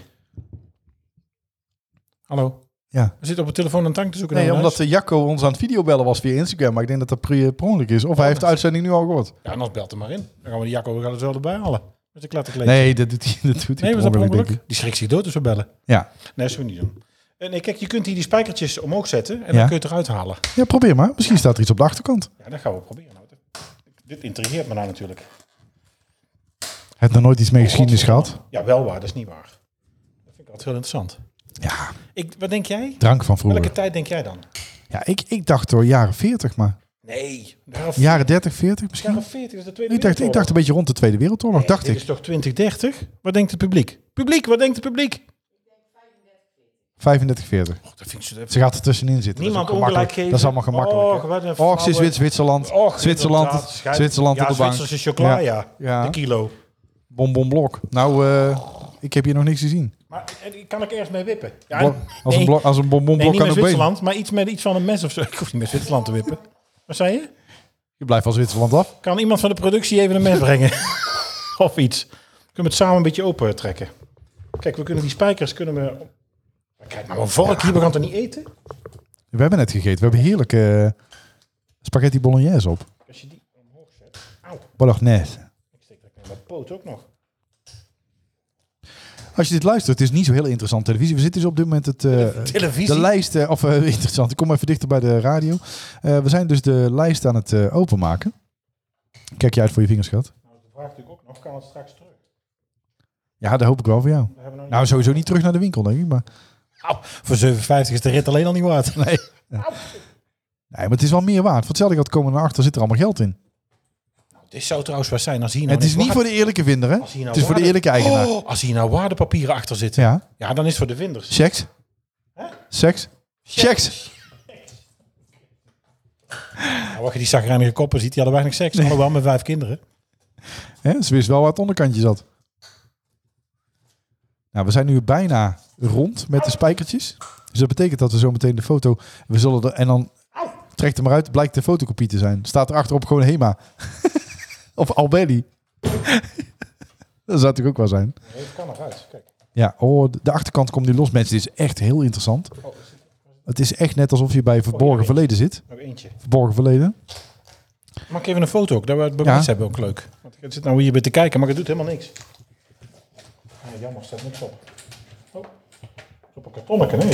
S3: Hallo.
S2: Ja.
S3: We zitten op de telefoon een tang te zoeken.
S2: Nee,
S3: naar een
S2: omdat
S3: huis.
S2: eh, Jacco ons aan het videobellen was via Instagram, maar ik denk dat dat pre- per ongeluk is. Of hij heeft de uitzending nu al gehoord.
S3: Ja, anders belt er maar in. Dan gaan we die Jacco we gaan het zo erbij halen. Met een kletterkleed.
S2: Nee, dat doet hij, dat doet hij
S3: nee was
S2: per
S3: dat per
S2: ongeluk, denk
S3: ongeluk? Die schrikt zich dood als we bellen.
S2: ik. Ja.
S3: Nee, zullen we niet doen. Eh, Nee, kijk, je kunt hier die spijkertjes omhoog zetten en
S2: Ja.
S3: dan kun je het eruit halen.
S2: ja, probeer maar. Misschien staat er iets op de achterkant.
S3: Ja, dat gaan we proberen. Nou, dat- Dit intrigeert me nou natuurlijk.
S2: Hij heeft nog nooit iets
S3: Oh,
S2: mee geschiedenis gehad.
S3: Ja, wel waar, dat is niet waar. Dat vind ik altijd heel interessant.
S2: Ja,
S3: Ik, wat denk jij?
S2: drank van
S3: Welke
S2: vroeger.
S3: tijd denk jij dan?
S2: Ja, ik, ik dacht door jaren 40, maar
S3: Nee, jaren,
S2: jaren 30, 40 misschien.
S3: jaren 40 is de Tweede
S2: Ik dacht, ik dacht een beetje rond de Tweede Wereldoorlog, dacht
S3: Dit
S2: ik.
S3: is toch 2030? Wat denkt het publiek? Publiek, wat denkt het publiek?
S2: 35, 40.
S3: Och, dat vind ik zo even.
S2: Ze gaat er tussenin zitten.
S3: Niemand
S2: dat is ook gemakkelijk.
S3: ongelijk geven.
S2: Dat is allemaal gemakkelijk.
S3: Och, wat een
S2: hè. Och, ze is
S3: flauwe-
S2: wit Zwitserland.
S3: Och,
S2: Zwitserland,
S3: inderdaad, schijt.
S2: Zwitserland
S3: ja,
S2: op de bank.
S3: Zwitserse chocola, ja.
S2: Ja.
S3: De kilo.
S2: Bonbonblok. Nou, eh, ik heb hier nog niks gezien.
S3: Maar eh, kan ik ergens mee wippen? Ja,
S2: Blok- als, een blok, als een
S3: nee,
S2: bonbonblok
S3: niet
S2: aan
S3: met
S2: de been.
S3: Zwitserland, maar iets met iets van een mes of zo. Ik hoef niet met Zwitserland te wippen. Wat zei je?
S2: Je blijft van Zwitserland af.
S3: Kan iemand van de productie even een mes brengen? of iets. Kunnen we het samen een beetje open trekken? Kijk, we kunnen die spijkers kunnen we. Kijk, nou een vork hier, we gaan het niet eten.
S2: We hebben net gegeten. We hebben heerlijke eh, spaghetti bolognese op.
S3: Als je die omhoog zet.
S2: Bolognese.
S3: Ik steek dat in mijn poot ook nog.
S2: Als je dit luistert, het is niet zo heel interessant televisie. We zitten dus op dit moment het, eh,
S3: Televisie.
S2: de lijst... eh, of eh, interessant, ik kom even dichter bij de radio. Eh, we zijn dus de lijst aan het eh, openmaken. Kijk je uit voor je vingers, schat.
S3: Nou, de vraag natuurlijk ook nog, kan het straks terug?
S2: Ja, dat hoop ik wel voor jou.
S3: We hebben nog
S2: Nou, sowieso niet terug naar de winkel, denk ik. Maar...
S3: Au, voor 7,50 is de rit alleen al niet waard.
S2: Nee. Nee, maar het is wel meer waard. Voor hetzelfde geld komen we naar achter, zit er allemaal geld in.
S3: Dit zou trouwens waar zijn als hier nou
S2: het is niet voor de eerlijke vinder, hè?
S3: Als hier nou
S2: het is voor de
S3: waarde-
S2: eerlijke eigenaar.
S3: Oh, als hier nou waardepapieren achter zitten. Ja,
S2: Ja,
S3: dan is het voor de vinders.
S2: seks. Seks. Seks.
S3: Nou, wat je die zagrijnige koppen ziet, die hadden weinig seks. Allemaal met vijf kinderen.
S2: Hè, Ze wist wel waar het onderkantje zat. Nou, we zijn nu bijna rond met de spijkertjes. Dus dat betekent dat we zo meteen de foto... We zullen er... En dan trekt hem eruit, blijkt de fotocopie te zijn. Staat er achterop gewoon Hema. of Albelli. dat zou natuurlijk ook wel zijn.
S3: Nee, het kan eruit. Kijk.
S2: Ja, oh, de achterkant komt nu los. Mensen, dit is echt heel interessant. Het is echt net alsof je bij verborgen
S3: hier.
S2: verleden zit.
S3: Nog eentje.
S2: Verborgen verleden.
S3: Maak even een foto ook, dat we het bewijs
S2: Ja.
S3: hebben ook leuk. Want ik zit nou hier bij te kijken, maar het doet helemaal niks. Ja, jammer, staat niks op. Oh, het is op een kartonnetje, nee.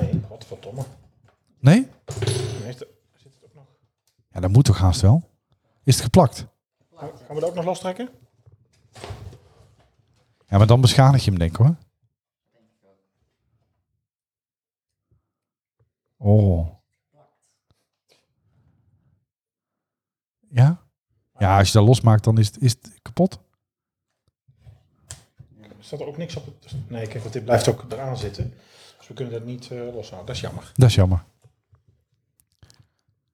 S3: Nee, godverdomme.
S2: Nee?
S3: Nee, is dat- zit het ook nog?
S2: Ja, dat moet toch haast wel. Is het geplakt?
S3: Gaan we- Gaan we dat ook nog lostrekken?
S2: Ja, maar dan beschadig je hem denk ik hoor. Oh. Ja? Ja, als je dat losmaakt, dan is het, is het kapot.
S3: Staat er ook niks op het... Nee, kijk, want dit blijft ook eraan zitten. Dus we kunnen dat niet eh, loshouden. Dat is jammer.
S2: Dat is jammer.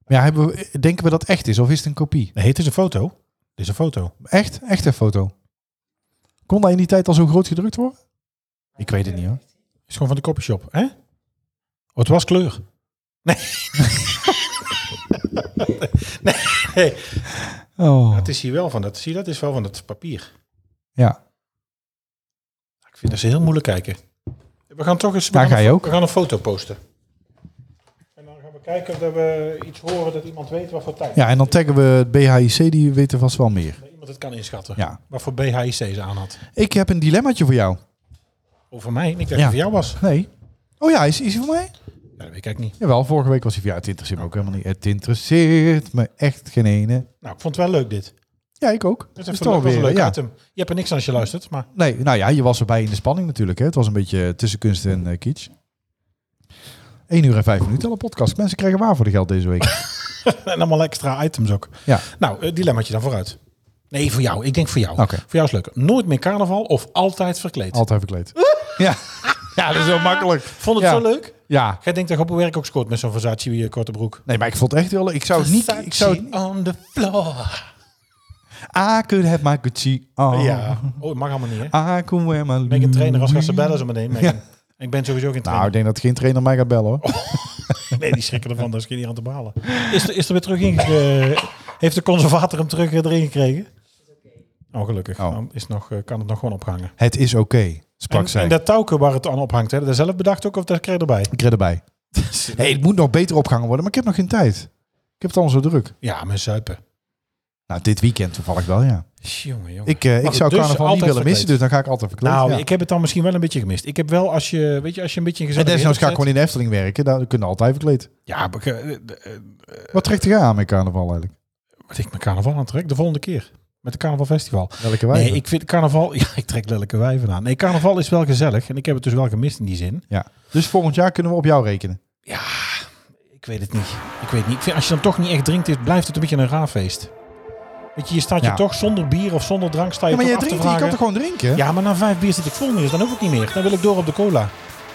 S2: Maar ja, hebben we, denken we dat het echt is of is het een kopie?
S3: Nee, het is een foto. Dit is een foto.
S2: Echt? Echt een foto? Kon dat in die tijd al zo groot gedrukt worden? Ik weet het niet hoor.
S3: Is gewoon van de copyshop, hè? Oh, het was kleur. Nee. nee. nee.
S2: Oh.
S3: Het is hier wel van dat. Zie je, dat is wel van dat papier.
S2: Ja.
S3: Ik vind dat ze heel moeilijk kijken. We gaan toch eens. we
S2: Daar
S3: gaan
S2: ga je
S3: een, fo-
S2: ook.
S3: We gaan een foto posten. En dan gaan we kijken of dat we iets horen dat iemand weet wat voor tijd.
S2: ja, en dan taggen we het BHIC, die weten vast wel meer.
S3: Dat Iemand het kan inschatten.
S2: Ja.
S3: Wat voor BHIC ze aan had.
S2: Ik heb een dilemmaatje voor jou.
S3: Over mij. En ik dacht
S2: Ja.
S3: dat voor jou was.
S2: Nee. Oh ja, is, is hij voor mij?
S3: Ja, dat weet ik niet.
S2: Jawel, vorige week was hij voor jou. Het interesseert me ook helemaal niet. Het interesseert me echt geen ene.
S3: Nou, ik vond het wel leuk dit.
S2: Ja, ik ook.
S3: Het
S2: Dat
S3: is
S2: is
S3: toch
S2: toch
S3: wel een
S2: weer,
S3: leuk
S2: ja.
S3: item. Je hebt er niks aan als je luistert, maar
S2: Nee, nou ja, je was erbij in de spanning natuurlijk. Hè. Het was een beetje tussen kunst en eh, kitsch. 1 uur en 5 minuten al een podcast. Mensen krijgen waar voor de geld deze week.
S3: en allemaal extra items ook.
S2: Ja.
S3: Nou, eh, dilemmaatje dan vooruit. Nee, voor jou. Ik denk voor jou.
S2: Oké.
S3: Voor jou is het leuk. Nooit meer carnaval of altijd verkleed. Ah.
S2: Altijd verkleed. Ja. ja, dat is heel makkelijk.
S3: Vond het
S2: Ja.
S3: zo leuk?
S2: Ja.
S3: Jij denkt dat je op je werk ook scoort met zo'n Versace eh, korte broek.
S2: Nee, maar ik vond het echt heel leuk. Nou, Ik zou het niet... Ik zou het,
S3: on the floor.
S2: I could have my Gucci on.
S3: Ja. Oh, dat mag allemaal niet, hè?
S2: I could wear my...
S3: Ben ik een trainer
S2: Mm.
S3: als gasten bellen zo meteen? Megan? Ik ben sowieso
S2: Nou,
S3: geen trainer.
S2: ik denk dat geen trainer mij gaat bellen hoor.
S3: Oh. Nee, die schrikken ervan. Dat is geen hier aan te behalen. Is er, is er weer terug in... eh, heeft de conservator hem terug eh, erin gekregen? Oh, gelukkig.
S2: Oh.
S3: Dan is nog, eh, kan het nog gewoon ophangen.
S2: Het is oké, sprak
S3: En,
S2: zij.
S3: en dat touwke waar het aan ophangt, hè, dat zelf bedacht ook of dat kreeg je erbij?
S2: Ik red erbij. hey, het moet nog beter opgehangen worden, maar ik heb nog geen tijd. Ik heb het allemaal zo druk.
S3: Ja, mijn zuipen.
S2: Nou, dit weekend toevallig wel, ja.
S3: Jongen, jongen.
S2: Ik, eh, ik
S3: Maar
S2: zou
S3: dus
S2: carnaval niet
S3: altijd
S2: willen missen, dus
S3: verkleed.
S2: dan ga ik altijd verkleed.
S3: nou,
S2: ja.
S3: ik heb het dan misschien wel een beetje gemist. Ik heb wel als je, weet je, als je een beetje een
S2: en
S3: gezellig
S2: desnoods ga ik
S3: ritme
S2: gewoon in de Efteling werken. Daar kunnen we altijd verkleed.
S3: zet- Ja, maar ik, eh, de- eh,
S2: Wat trekt jij aan met carnaval eigenlijk?
S3: wat ik mijn carnaval aantrek, de volgende keer. Met het carnaval festival.
S2: Welke wij?
S3: Nee, ik vind carnaval... Ja, ik trek lelijke wijven aan. Nee, carnaval is wel gezellig. En ik heb het dus wel gemist in die zin.
S2: ja. Dus volgend jaar kunnen we op jou rekenen.
S3: Ik weet het niet. Ik weet niet. Ik vind, als je dan toch niet echt drinkt, is- blijft het een beetje een raar feest. Weet je, je staat
S2: Ja.
S3: je toch zonder bier of zonder drank sta je
S2: Ja, maar
S3: toch
S2: jij
S3: af te
S2: drinkt, je kan
S3: vragen-
S2: toch gewoon drinken?
S3: Ja, maar na vijf bier zit ik vol nu, dus dan hoef ik niet meer. Dan wil ik door op de cola.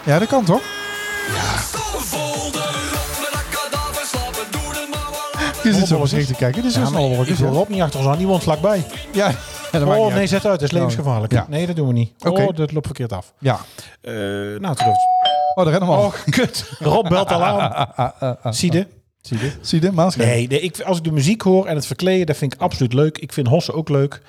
S2: Ja, dat kan toch?
S1: Vol de rot met dat kadaver slapen, doe er maar wat aan.
S2: Je zit zo voorzichtig te kijken. Dit is
S3: Ja,
S2: een
S3: maar
S2: snel
S3: ik wil Rob niet achter ons aan, die woont vlakbij.
S2: Ja, ja, dat maakt
S3: Oh
S2: niet
S3: nee,
S2: uit.
S3: zet uit, dat is levensgevaarlijk.
S2: Ja.
S3: Nee, dat doen we niet.
S2: Oké.
S3: Oh, dat loopt verkeerd af.
S2: ja.
S3: Eh, nou, tot over.
S2: Oh, daar rennen we al.
S3: Oh, kut. Rob belt al aan. Zie je? Zie je?
S2: Zie je dit? Maanschijn.
S3: Nee, nee ik, als ik de muziek hoor en het verkleden, dat vind ik absoluut leuk. Ik vind hossen ook leuk.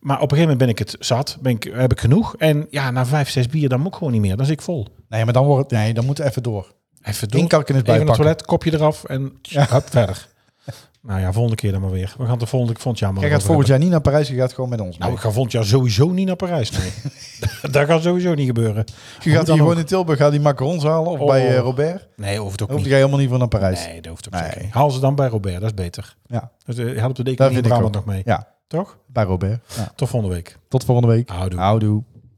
S3: Maar op een gegeven moment ben ik het zat. Ben ik, heb ik genoeg. En ja, na vijf, zes bier, dan moet ik gewoon niet meer. Dan zit ik vol.
S2: Nee, maar dan, wordt, het- nee, dan moet het even door.
S3: Even door.
S2: Inkalken is
S3: Even naar het
S2: bijpakken.
S3: toilet, kopje eraf en hup, verder. Nou ja, volgende keer dan maar weer. We gaan de volgende volgend jaar maar
S2: Jij
S3: weer
S2: gaat volgend jaar niet naar Parijs, je gaat gewoon met ons mee.
S3: Nou, ik ga volgend jaar sowieso niet naar Parijs. Nee. dat gaat sowieso niet gebeuren.
S2: je gaat
S3: dan
S2: hier gewoon
S3: ook.
S2: in Tilburg ga die macarons halen of
S3: Oh.
S2: bij eh, Robert. Dan
S3: Nee, hoeft ook
S2: hoef
S3: niet.
S2: je helemaal niet voor naar Parijs.
S3: Nee, dat hoeft ook
S2: Nee.
S3: zeker niet. Haal ze dan bij Robert, dat is beter.
S2: Ja,
S3: Dus eh, helpt de
S2: daar
S3: economie in
S2: vind ik ook.
S3: Brabant nog mee.
S2: Ja,
S3: Toch?
S2: bij Robert. Ja.
S3: Tot volgende week.
S2: Tot volgende week.
S3: Houdoe.
S2: Houdoe.